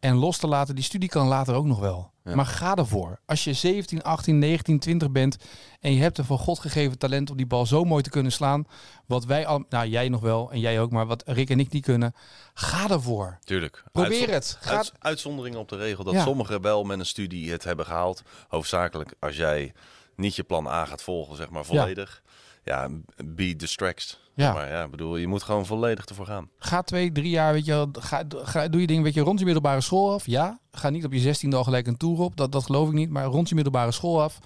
Speaker 2: en los te laten, die studie kan later ook nog wel.
Speaker 6: Ja.
Speaker 2: Maar ga ervoor. Als je 17, 18, 19, 20 bent en je hebt een van God gegeven talent om die bal zo mooi te kunnen slaan, wat wij al, nou jij nog wel en jij ook, maar wat Rick en ik niet kunnen, ga ervoor.
Speaker 1: Tuurlijk.
Speaker 2: Probeer
Speaker 1: Uitzo-
Speaker 2: het. Ga-
Speaker 1: Uitz- uitzonderingen op de regel dat
Speaker 2: Ja.
Speaker 1: sommigen wel met een studie het hebben gehaald. Hoofdzakelijk als jij niet je plan A gaat volgen, zeg maar volledig. Ja, be distracted.
Speaker 2: Ja.
Speaker 1: Maar ja, ik bedoel, je moet gewoon volledig ervoor gaan.
Speaker 2: Ga twee, drie jaar, weet je, wel, ga, ga, doe je ding, weet je, rond je middelbare school af. Ja, ga niet op je zestiende al gelijk een tour op, dat, dat geloof ik niet, maar rond je middelbare school af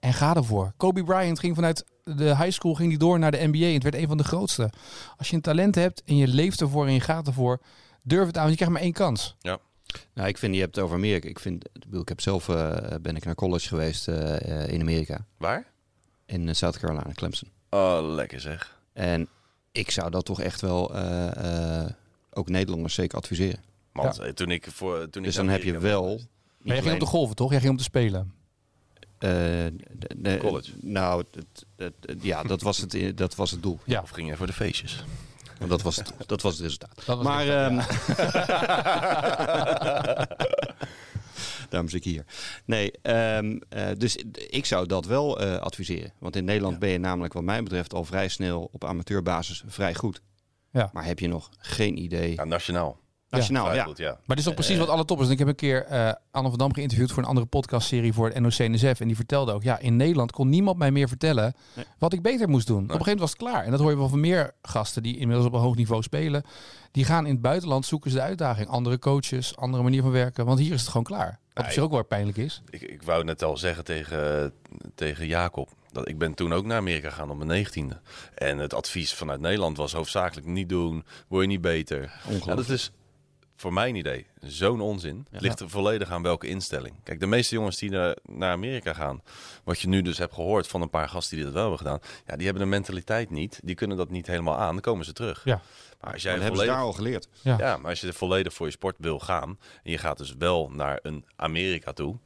Speaker 2: en ga ervoor. Kobe Bryant ging vanuit de high school ging die door naar de NBA en het werd een van de grootste. Als je een talent hebt en je leeft ervoor en je gaat ervoor, durf het aan, want je krijgt maar één kans.
Speaker 6: Nou, ik vind, je hebt het over Amerika. Ik, vind, ik bedoel, ik heb zelf eh, ben ik naar college geweest eh, eh, in Amerika.
Speaker 1: Waar?
Speaker 6: In eh, South Carolina, Clemson.
Speaker 1: Oh, lekker zeg.
Speaker 6: En ik zou dat toch echt wel eh, eh, ook Nederlanders zeker adviseren.
Speaker 1: Man, eh, toen ik voor toen ik
Speaker 6: Dus dan heb je wel... niet
Speaker 2: Maar jij ging
Speaker 6: alleen-
Speaker 2: op de golven, toch? Jij ging om te spelen.
Speaker 6: eh, de- de-
Speaker 1: College.
Speaker 6: Nou, het- het- het- ja, dat was het, dat was het doel.
Speaker 1: Of ging je voor de feestjes?
Speaker 6: Want dat was het, dat was het resultaat.
Speaker 2: Dat was
Speaker 6: maar
Speaker 2: het,
Speaker 6: ehm, daarom zit ik hier. Nee, ehm, eh, dus ik zou dat wel eh, adviseren. Want in Nederland ben je namelijk wat mij betreft al vrij snel op amateurbasis vrij goed.
Speaker 2: Ja.
Speaker 6: Maar heb je nog geen idee
Speaker 1: Ja, nationaal.
Speaker 2: Nou,
Speaker 6: Nationaal, ja.
Speaker 1: Goed, ja.
Speaker 2: Maar dit is ook precies wat alle toppers. En ik heb een keer eh Anne van Dam geïnterviewd voor een andere podcastserie voor het NOC-NSF. En die vertelde ook, ja, in Nederland kon niemand mij meer vertellen
Speaker 6: Nee.
Speaker 2: wat ik beter moest doen. Op een gegeven moment was het klaar. En dat hoor je wel van meer gasten die inmiddels op een hoog niveau spelen. Die gaan in het buitenland zoeken ze de uitdaging. Andere coaches, andere manier van werken. Want hier is het gewoon klaar. Wat op
Speaker 1: Nee.
Speaker 2: zich ook wel pijnlijk is.
Speaker 1: Ik, ik wou net al zeggen tegen, tegen Jacob. Dat ik ben toen ook naar Amerika gegaan op mijn negentiende. En het advies vanuit Nederland was hoofdzakelijk niet doen. Word je niet beter. Ja, dat is voor mijn idee zo'n onzin. Het ligt er volledig aan welke instelling. Kijk, de meeste jongens die naar, naar Amerika gaan, wat je nu dus hebt gehoord van een paar gasten die dat wel hebben gedaan, ja, die hebben de mentaliteit niet. Die kunnen dat niet helemaal aan. Dan komen ze terug.
Speaker 2: Ja.
Speaker 1: Maar als
Speaker 6: Dat
Speaker 1: jij
Speaker 6: hebben ze
Speaker 1: volledig
Speaker 6: daar al geleerd.
Speaker 1: ja, maar als je er volledig voor je sport wil gaan en je gaat dus wel naar een Amerika toe.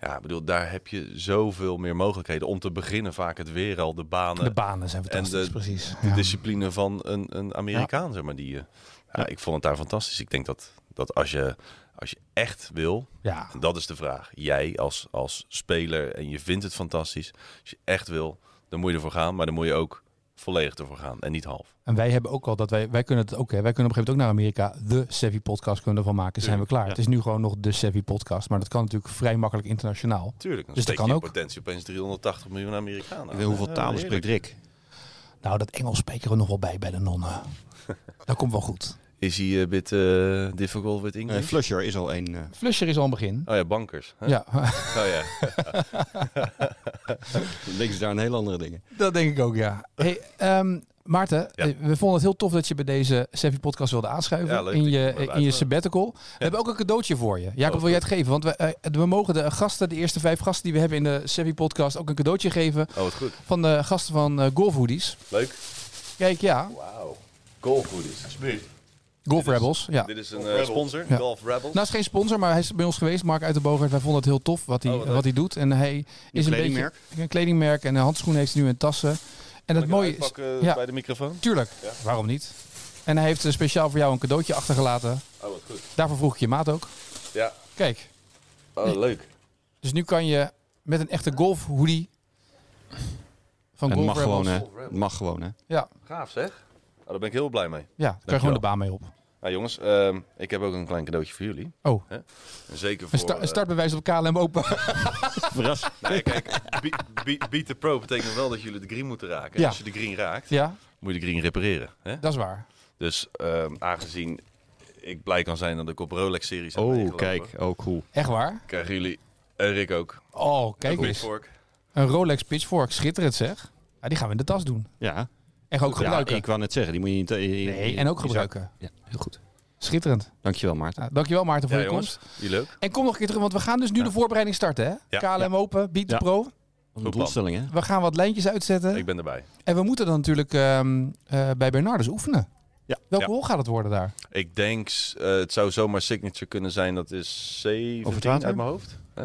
Speaker 1: Ja, ik bedoel, daar heb je zoveel meer mogelijkheden. Om te beginnen vaak het weer al, de banen,
Speaker 2: De banen zijn fantastisch,
Speaker 1: de-
Speaker 2: precies.
Speaker 1: de
Speaker 2: Ja.
Speaker 1: discipline van een, een Amerikaan, zeg maar. Die, eh, ja, Ik vond het daar fantastisch. Ik denk dat, dat als, je, als je echt wil,
Speaker 2: Ja.
Speaker 1: en dat is de vraag. Jij als, als speler en je vindt het fantastisch. Als je echt wil, dan moet je ervoor gaan. Maar dan moet je ook volledig ervoor gaan en niet half.
Speaker 2: En wij hebben ook al dat wij, wij kunnen het ook, hè, wij kunnen op een gegeven moment ook naar Amerika. De Sevi podcast kunnen we ervan maken. Zijn we klaar. Het is nu gewoon nog de Sevi podcast. Maar dat kan natuurlijk vrij makkelijk internationaal.
Speaker 1: Tuurlijk, dan
Speaker 2: Dus dat
Speaker 1: steek
Speaker 2: kan
Speaker 1: je in
Speaker 2: ook.
Speaker 1: potentie opeens 380 miljoen Amerikanen.
Speaker 6: Ik weet hoeveel
Speaker 1: Ja,
Speaker 6: talen
Speaker 1: heerlijk.
Speaker 6: spreekt Rick?
Speaker 2: Nou, dat Engels spreken we nog wel bij bij de nonnen. Dat komt wel goed.
Speaker 1: Is hij een bit eh, difficult with
Speaker 6: Eh,
Speaker 1: English?
Speaker 6: Flusher is al één. eh,
Speaker 2: Flusher is al een begin.
Speaker 1: oh ja, bankers. Hè?
Speaker 2: Ja,
Speaker 1: Oh ja.
Speaker 6: dan denken ze daar een heel andere dingen.
Speaker 2: dat denk ik ook, ja. Hey, ehm, Maarten,
Speaker 1: Ja.
Speaker 2: eh, we vonden het heel tof dat je bij deze Sevi podcast wilde aanschuiven
Speaker 1: Ja, leuk
Speaker 2: in
Speaker 1: dat je me
Speaker 2: je,
Speaker 1: hebt
Speaker 2: eh, in je
Speaker 1: uitgenodigd.
Speaker 2: sabbatical. We hebben ook een cadeautje voor je. Jacob, wil jij het geven? Want we, eh, we mogen de gasten, de eerste vijf gasten die we hebben in de Sevi podcast, ook een cadeautje geven
Speaker 1: Oh, wat goed.
Speaker 2: van de gasten van eh Golf Hoodies.
Speaker 1: Leuk.
Speaker 2: Kijk, ja,
Speaker 1: Wauw. Golf hoodies.
Speaker 2: Golf Rebels. Ja.
Speaker 1: Dit is een eh, sponsor,
Speaker 2: Ja.
Speaker 1: Golf Rebels.
Speaker 2: Nou, is geen sponsor, maar hij is bij ons geweest, Mark Uitenbogert. Wij vonden het heel tof wat hij,
Speaker 1: Oh, wat leuk.
Speaker 2: wat hij doet. En hij is een beetje
Speaker 6: kledingmerk.
Speaker 2: een kledingmerk en een handschoen heeft hij nu en tassen. En
Speaker 1: Kan
Speaker 2: het
Speaker 1: ik
Speaker 2: mooie
Speaker 1: hem
Speaker 2: is,
Speaker 1: uitpakken eh,
Speaker 2: ja.
Speaker 1: bij de microfoon?
Speaker 2: tuurlijk, waarom niet? En hij heeft eh, speciaal voor jou een cadeautje achtergelaten.
Speaker 1: Oh, wat goed.
Speaker 2: Daarvoor vroeg ik je maat ook.
Speaker 1: Ja.
Speaker 2: Kijk,
Speaker 1: Oh, leuk.
Speaker 2: dus nu kan je met een echte golf hoodie van
Speaker 6: En
Speaker 2: Golf
Speaker 6: het mag
Speaker 2: Rebels-
Speaker 6: gewoon, hè? Het mag gewoon, hè?
Speaker 2: Ja,
Speaker 1: Gaaf zeg. Oh, daar ben ik heel blij mee.
Speaker 2: ja, daar kan je
Speaker 1: Dankjewel.
Speaker 2: gewoon de baan mee op.
Speaker 1: Nou jongens, ehm, ik heb ook een klein cadeautje voor jullie.
Speaker 2: Oh,
Speaker 1: Hè? En zeker voor...
Speaker 2: een, sta-
Speaker 1: eh,
Speaker 2: een startbewijs op KLM Open.
Speaker 6: Oh,
Speaker 1: nee, kijk, be- be- beat the pro betekent wel dat jullie de green moeten raken.
Speaker 2: Ja.
Speaker 1: Als je de green raakt,
Speaker 2: ja,
Speaker 1: moet je de green repareren. Hè?
Speaker 2: dat is waar.
Speaker 1: Dus ehm, aangezien ik blij kan zijn dat ik op Rolex-series heb meegelopen,
Speaker 6: Oh, cool.
Speaker 2: Echt waar?
Speaker 1: krijgen jullie en Rick ook.
Speaker 2: Oh, kijk
Speaker 1: Een
Speaker 2: eens.
Speaker 1: pitchfork.
Speaker 2: Een Rolex Pitchfork, schitterend zeg. Ja, die gaan we in de tas doen.
Speaker 6: Ja.
Speaker 2: En ook
Speaker 6: ja,
Speaker 2: gebruiken.
Speaker 6: ik wou net zeggen, die moet je niet...
Speaker 2: Nee, en ook gebruiken.
Speaker 6: Ja, heel goed.
Speaker 2: Schitterend.
Speaker 6: Dankjewel, Maarten.
Speaker 2: Nou, dankjewel Maarten voor
Speaker 1: Ja
Speaker 2: je
Speaker 1: jongens,
Speaker 2: komst.
Speaker 1: jullie ook.
Speaker 2: En kom nog een keer terug, want we gaan dus nu de voorbereiding starten. Hè?
Speaker 1: Ja.
Speaker 2: KLM Open, Beat the
Speaker 6: Ja.
Speaker 2: Pro.
Speaker 6: Wat
Speaker 1: plan.
Speaker 6: een doelstelling, hè?
Speaker 2: We gaan wat lijntjes uitzetten.
Speaker 1: Ik ben erbij.
Speaker 2: En we moeten dan natuurlijk ehm, eh, bij Bernardus oefenen.
Speaker 6: Ja.
Speaker 2: Welke
Speaker 1: Ja.
Speaker 2: rol gaat het worden daar?
Speaker 1: Ik denk, eh, het zou zomaar signature kunnen zijn. Dat is 17
Speaker 6: Over het water?
Speaker 1: uit mijn hoofd. Hè?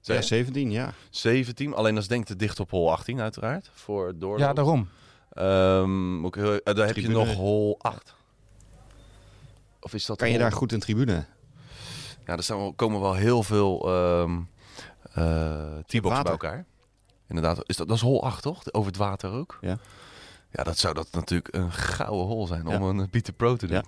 Speaker 1: Zeg
Speaker 6: Ja,
Speaker 1: je?
Speaker 6: 17, ja.
Speaker 1: 17, alleen dat is denk ik te dicht op hol 18 uiteraard. Voor door.
Speaker 2: Ja, daarom.
Speaker 1: Ehm, moet ik heel- eh, daar heb je
Speaker 6: Tribune.
Speaker 1: nog hol 8. Of is dat
Speaker 6: Kan je
Speaker 1: hol-
Speaker 6: daar goed in tribune?
Speaker 1: Ja, er staan wel- komen wel heel veel ehm eh, T-box bij
Speaker 6: Water.
Speaker 1: elkaar. Inderdaad, is dat, dat is hol 8 toch? Over het water ook?
Speaker 6: Ja.
Speaker 1: Ja, dat zou dat natuurlijk een gouden hol zijn
Speaker 6: Ja.
Speaker 1: om een eh, Beat the Pro te doen.
Speaker 6: Ja.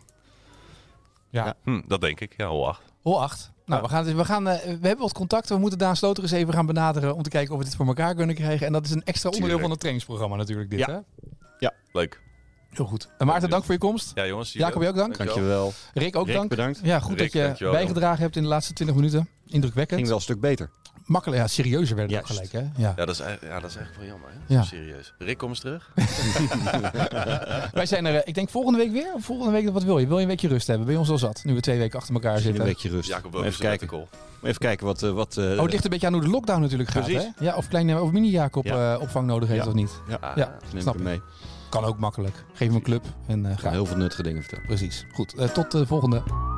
Speaker 2: Ja.
Speaker 6: Ja.
Speaker 1: Hm, dat denk ik, ja, hol 8.
Speaker 2: Hol 8. Nou, we, gaan, we, gaan, eh, we hebben wat contacten. We moeten Daan Sloter eens even gaan benaderen om te kijken of we dit voor elkaar kunnen krijgen. En dat is een extra onderdeel
Speaker 1: Tuurlijk.
Speaker 2: van het trainingsprogramma natuurlijk dit.
Speaker 6: Ja.
Speaker 2: Hè?
Speaker 1: Leuk.
Speaker 2: Heel goed. En Maarten, dank voor je komst.
Speaker 1: Ja, jongens. jullie
Speaker 2: Jacob, je ook dank.
Speaker 6: Dankjewel.
Speaker 2: Rick, ook
Speaker 6: Rick,
Speaker 2: dank.
Speaker 6: bedankt.
Speaker 2: Ja, goed
Speaker 1: Rick,
Speaker 2: dat je
Speaker 1: dankjewel,
Speaker 2: bijgedragen hebt in de laatste 20 minuten. Indrukwekkend.
Speaker 6: Ging wel een stuk beter.
Speaker 2: makkelijk, ja, serieuzer werd het ook
Speaker 6: Juist.
Speaker 2: gelijk. Hè? Ja.
Speaker 1: Ja, dat is, eigenlijk- ja, dat is eigenlijk wel jammer. Hè?
Speaker 2: Ja.
Speaker 1: Serieus. Rick, kom eens terug.
Speaker 2: Wij zijn er, eh, ik denk volgende week weer. Of volgende week, wat wil je? Wil je een weekje rust hebben? Bij ons al zat, nu we twee weken achter elkaar
Speaker 6: Een
Speaker 2: zitten.
Speaker 6: beetje rust.
Speaker 1: Jacob,
Speaker 6: even, kijken.
Speaker 1: Call.
Speaker 6: even kijken wat... eh, wat eh,
Speaker 2: Oh, het ligt een beetje aan hoe de lockdown natuurlijk gaat. Hè?
Speaker 6: Precies.
Speaker 2: Ja, of kleine of mini Jacob
Speaker 6: Ja.
Speaker 2: eh, opvang nodig heeft
Speaker 6: Ja. Ah.
Speaker 2: of niet.
Speaker 1: Ah.
Speaker 6: Ja,
Speaker 2: Ja,
Speaker 6: neem ik
Speaker 2: snap
Speaker 6: hem
Speaker 2: ik.
Speaker 6: mee.
Speaker 2: Kan ook makkelijk. Geef hem een club en eh
Speaker 6: Ik ga
Speaker 2: ga.
Speaker 6: heel veel nuttige dingen vertellen.
Speaker 2: Precies. Goed, eh, tot de volgende.